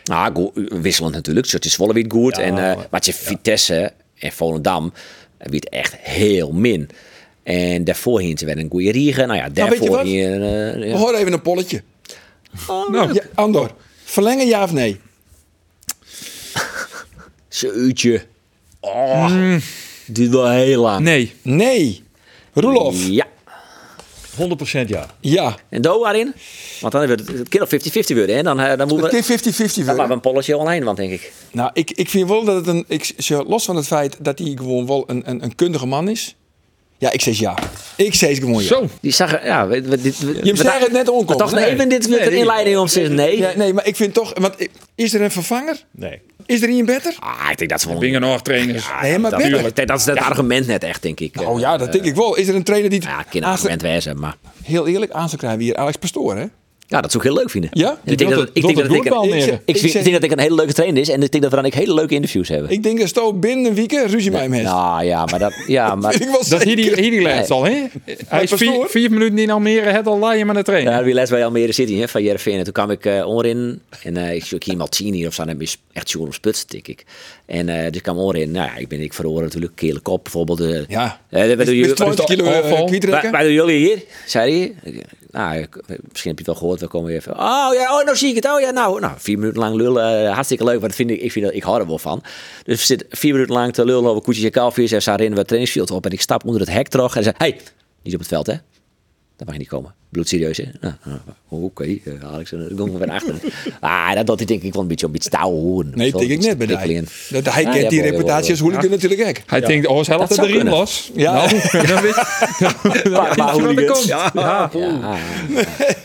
E: Nou, go- wisselend natuurlijk. Zo, Het is Zwolle weer goed. en eh maar het is Vitesse en Volendam eh, weer echt heel min. En daarvoor hingen ze wel een goede riegen. Nou ja,
A: weet je
E: daarvoor
A: wat?
E: hier, eh,
A: we
E: ja.
A: horen even een polletje.
F: Nou,
A: Ja, Andor, verlengen ja of nee?
E: Zeutje. Oh, duurt wel heel lang.
F: nee.
A: Mm. Nee. Roelof.
E: Ja.
D: 100% ja.
A: Ja.
E: En Do daarin? Want dan wordt het het kan op 50-50 worden. Hè? Dan, eh, dan moeten we...
A: Het kan 50-50
E: Dan maken we
A: worden.
E: een polletje online, want denk ik.
A: Nou, ik, ik vind wel dat het een... Ik, zo, los van het feit dat hij gewoon wel een, een, een kundige man is. Ja, ik zeg ja. Ik zeg gewoon ja.
F: Zo.
E: Die zag... Ja, we, we, dit, we,
A: Je zag het net
E: Maar
A: onkomen.
E: toch nee. even dit met een inleiding om te zeggen nee.
A: Ja, nee, maar ik vind toch... Want, i- is er een vervanger?
D: Nee.
A: Is er een beter?
E: Ah, ik denk dat ze wel...
F: Bingen nog trainers.
A: nee, maar
E: dat,
A: beter.
E: dat, dat is het argument net echt, denk ik.
A: Oh ja, dat denk ik wel. Is er een trainer die... het
E: Ja, ik kan een
A: aan zijn-
E: argument wijzen, maar...
A: heel eerlijk, aan zou krijgen we hier Alex Pastoor, hè?
E: Ja, dat zou ik heel leuk vinden.
A: Ja?
E: En ik denk
F: wilt
E: dat
F: het-
E: ik
F: wilt
E: denk
F: het
E: dat ik
F: goed
E: een-
F: balneren.
E: ik
A: Ik
E: vind-
A: zeg-
E: ik denk dat ik een hele leuke trainer is en ik denk dat we dan ook hele leuke interviews hebben.
A: Ik denk dat Sto binnen een week ruzie mij mee.
E: Nou ja, maar dat ja,
A: [LAUGHS]
E: maar
A: Ik was
F: Dat hier
A: [LAUGHS]
F: die, hier die
E: Nee.
F: laatst al, hè? Hij is
A: Pastoor?
F: vier, vier minuten in Almere, het al laaien met de trainer.
E: Ja, wie les bij Almere City hè, van Jervin. En toen kwam ik eh, onderin. En eh, ik zie ook hier Maltini of zo. En is echt zoen op spits, denk ik. En eh, dus ik kwam onderin. Nou ja, ik ben ik verloren natuurlijk. Kele kop bijvoorbeeld. eh.
A: Ja.
E: Eh, wat doen
A: Met
E: jullie-
A: 20 kilo eh,
F: Afval.
E: Waar,
A: kwietrekken.
E: waar doen jullie hier? Zei hij. Ik- Nou, ik- misschien heb je het wel gehoord. We komen weer even. Oh ja, oh, nou zie ik het. Oh ja, nou, nou vier minuten lang lullen. eh, hartstikke leuk. Want dat vind ik, ik, vind dat, ik hou er wel van. Dus we zitten vier minuten lang te lullen over koetjes en kalfjes. En ze rennen we het trainingsveld op. En ik stap onder het hek terug. En ze zei, hey, niet op het veld hè. Dat mag je niet komen. Bloedserieus, hè? Nou, nou, Oké, eh, Alex, eh, ik kom van
A: [LAUGHS]
E: achter. Ah, dat, dat denk ik wel een beetje om iets te houden.
A: Nee, dat denk ik net bij
E: Prikkelingen.
A: die. Dat hij
E: Ja,
A: kent die
E: jawel, jawel,
A: reputatie als
E: jawel.
A: hooligan natuurlijk ook.
F: Hij denkt, oh, zelf
E: Dat
F: dat
E: zou
F: erin
E: kunnen.
F: los.
A: Ja.
E: [LAUGHS]
F: Nou, [LAUGHS] dan weet
E: Maar, maar
F: je wat er
E: hooligans.
F: komt. Ja.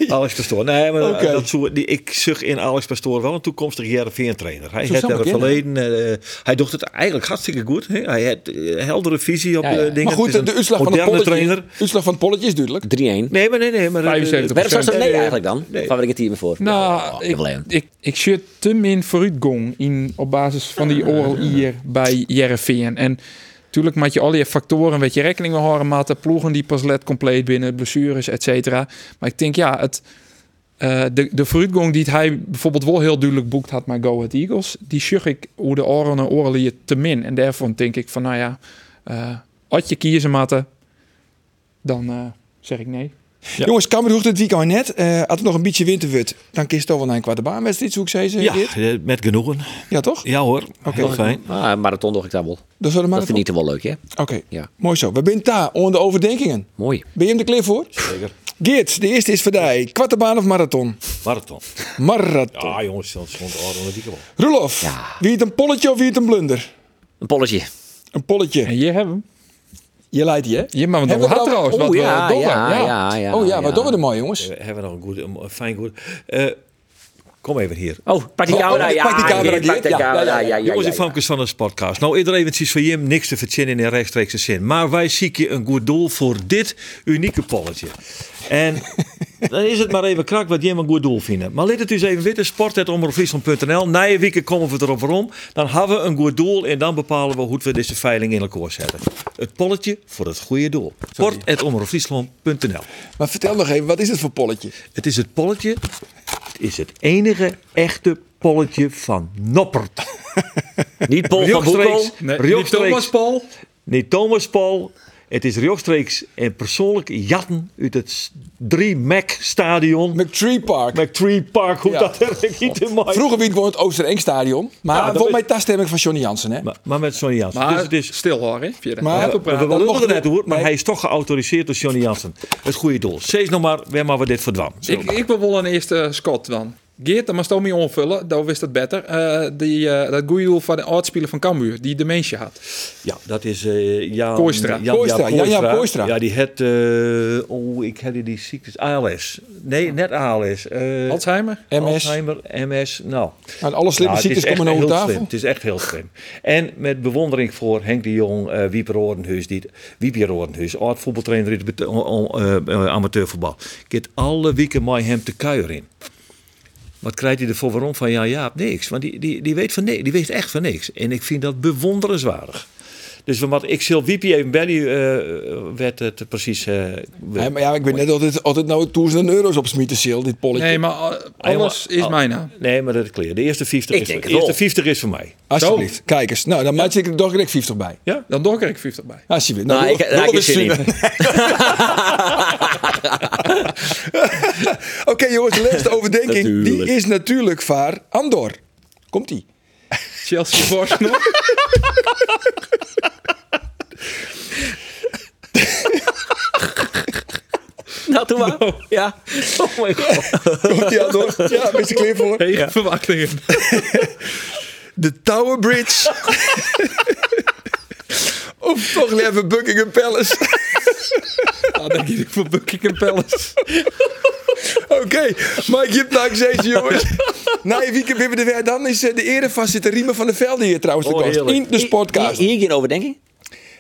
D: Alex Pastoor. Nee, maar eh,
A: Oké.
D: dat zo, die, ik zag in Alex Pastoor wel een toekomstig Jereveen-trainer. Hij heeft
A: zou
D: daar
A: maar
D: een verleden. eh, hij doet het eigenlijk hartstikke goed. Hè? Hij heeft eh, heldere visie op
E: Ja,
D: eh,
E: ja.
D: dingen.
A: Maar goed,
D: Het is
A: de
D: een
A: uitslag van, het
D: moderne
A: polletje,
D: trainer.
A: uitslag van het polletje is duidelijk.
E: 3-1.
D: Nee, maar nee, nee. Maar, eh,
F: 75%.
E: Waarom zou ze nee
D: Eh,
E: eigenlijk dan?
D: nee.
E: Waar ben ik het hier voor?
F: Nou,
E: ik wil
F: ik,
E: even.
F: ik, ik shut te min vooruitgang in, op basis van die oral hier bij Jereveen. En natuurlijk moet je al die factoren een beetje rekening mee houden. Maar de ploegen die pas let compleet binnen, blessures, et cetera. Maar ik denk, ja, het, eh, de, de vooruitgang die het hij bijvoorbeeld wel heel duidelijk boekt had met Go Ahead Eagles... die zag ik hoe de oren en oren hier te min. En daarvan denk ik van, nou ja, eh had je kiezen matten, dan eh, zeg ik nee.
A: Jongens, Kamer hoeft het weekend net. Eh als het nog een beetje winter wordt, dan kiest toch wel naar een kwarte baanwedstrijd, zoek zei ze.
D: Ja,
A: Geert?
D: eh, met genoegen.
A: ja, toch?
D: Ja hoor, heel fijn.
E: Ah, marathon doe ik daar wel.
A: Dat zullen we
E: Dat
A: maar.
E: vind ik toch wel leuk, hè?
A: Oké,
E: Ja.
A: mooi zo. We zijn daar onder overdenkingen.
E: Mooi.
A: Ben je hem er klaar voor? Zeker. Geert, de eerste is voor jou. Kwarte baan of marathon?
D: Marathon.
A: Marathon.
D: Ja, jongens, dat stond orde die gewoon.
A: Roelof, wie het een polletje of wie het een blunder?
E: Een polletje.
A: Een polletje.
F: En hier hebben we hem.
A: Je leidt die, hè?
F: Hier, maar want
A: Hebben
F: dan
A: we
F: had
A: nou-
F: trouwens.
A: oh,
F: wat we
E: ja,
F: door
E: ja,
F: hebben.
E: ja, ja.
A: oh ja, wat doen we er mooi, jongens?
D: We hebben nog een, goede, een fijn goed. Eh, kom even hier.
E: Oh, pak die camera.
A: oh,
E: Ja,
A: pak die camera,
E: Geert, Pak
A: Geert.
E: die
A: Ja,
E: camera.
A: ja, ja,
E: Ja, ja, ja.
D: Jongens en
E: ja.
D: famkes van het podcast. Nou, iedereen ziet van Jim niks te verzinnen in rechtstreekse zin. Maar wij zieken een goed doel voor dit unieke polletje.
E: [LAUGHS]
D: En dan is het maar even krak wat Jim een goed doel vinden. Maar laat het dus even weten. sport.omroepfriesland.nl Na je weken komen we erop rond. Dan hebben we een goed doel en dan bepalen we hoe we deze veiling in elkaar zetten. Het polletje voor het goede doel. sport.omroepfriesland.nl
A: Maar vertel nog even, wat is het voor polletje?
D: Het is het polletje. Het is het enige echte polletje van Noppert.
E: [LAUGHS] Niet Paul van Boekel.
F: Nee, die
D: rechtstreeks-
F: Thomas Paul.
D: Nee, Thomas Paul. Het is rechtstreeks en persoonlijk jatten uit het 3 Mac Stadion.
A: McTree Park.
D: McTree Park, hoe
A: Ja.
D: dat er niet te mooi.
A: Vroeger wie het gewoon het Oosterengstadion. Maar
D: dat
A: volgens
D: is-
A: mij taststemming van Johnny Jansen, hè?
D: Maar, maar met Johnny Jansen.
F: Maar
D: dus het is,
F: stil hoor, hè? Via de-
A: Maar-
F: Laten we
D: we
F: praten.
A: dat
D: willen
A: mocht
D: er net
A: niet.
D: hoor, maar
A: Nee.
D: hij is toch geautoriseerd door Johnny Jansen. Het goede doel. Zees nog maar, weer maar we dit verdwam.
F: ik, ik wil wel een eerste Scott dan. Geert, dan moest je mee onvullen. Dan wist het beter. Eh, die, eh, dat goede doel van de oudspeler van Cambuur, die dementie had.
D: Ja, dat is eh Jan...
F: Kooistra.
D: Jan,
A: Kooistra,
D: Ja,
A: Jan- Jan Kooistra.
D: Ja, die het... eh, oh, ik heb die ziektes. ALS. Nee, net ALS. Eh,
F: Alzheimer?
A: MS.
D: Alzheimer, MS. Nou,
A: En alle slimme
D: Ja, het is
A: ziektes
D: echt
A: komen nou op
D: heel slim.
A: tafel.
D: Het is echt heel slim. En met bewondering voor Henk de Jong, eh Wieper Oordenhuis, die, Wieper Oordenhuis, oud voetbaltrainer in het bet- o- o- eh, eh, amateurvoetbal. Ik heb alle weken mij hem te kuier in. Wat krijgt hij ervoor waarom van ja, Jaap? Niks. Want die, die, die, weet van, ni- die weet echt van niks. En ik vind dat bewonderenswaardig. Dus we moeten- ik zal Wiepie even bellen, eh, werd het precies. eh, we-
A: Ja, maar ja, ik ben net altijd, altijd nou duizenden euro's op smieten, Sil, dit polletje.
F: Nee, maar eh, alles is
D: Al-
F: mijn naam.
D: Nee, maar dat is clear. De eerste 50
E: Ik
D: is,
E: denk
D: de
E: het wel.
D: eerste 50 is voor mij.
A: Alsjeblieft, kijk eens. Nou, dan maak je er toch direct 50 bij.
F: Dan doe ik er 50 bij.
A: Alsjeblieft.
E: Nou, ik-
A: Roelof-
E: nou, ik
A: Roelof is
E: zit
A: [LAUGHS] Oké, jongens, de laatste overdenking die
E: Natuurlijk.
A: is natuurlijk vaar Andor. Komt-ie.
F: Chelsea [LAUGHS] Arsenal.
E: Nou, doe maar. Ja.
D: Oh my god.
A: Komt-ie, Andor? [LAUGHS] Ja, ben je er klaar voor?
F: Tegen verwachtingen.
A: [LAUGHS] De Tower Bridge. [LAUGHS] of toch even Buckingham
F: [LAUGHS]
A: Palace.
F: Dan Ah, denk ik voor Buckingham Palace.
A: [LAUGHS] Oké, Mike, je hebt nou gezeten, jongens. Na je weekend hebben we er weer. Dan is eh, de ere van zitten Riemen van de Velde hier trouwens de
D: Oh,
A: gast.
D: heerlijk.
A: In de sportcast.
E: Hier, hier geen overdenking?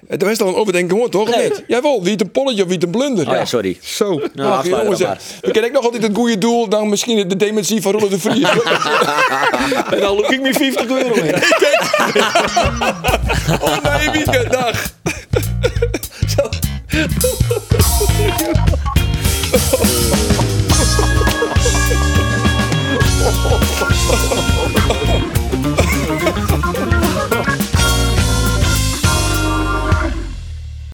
A: Het was Eh, al een overdenking hoor, toch? Of
E: Nee.
A: niet? Jawel, wie het een polletje of wie het een blunder.
E: Oh ja, sorry.
A: Zo. Nou,
E: afsluiten
A: jongens,
E: dan maar.
A: we kennen ook nog altijd het goede doel. Dan misschien de dementie van Roland de Vries.
E: [LAUGHS]
D: En dan loop ik me 50 euro in.
A: oh nee, Wietke, dag.
D: Zo.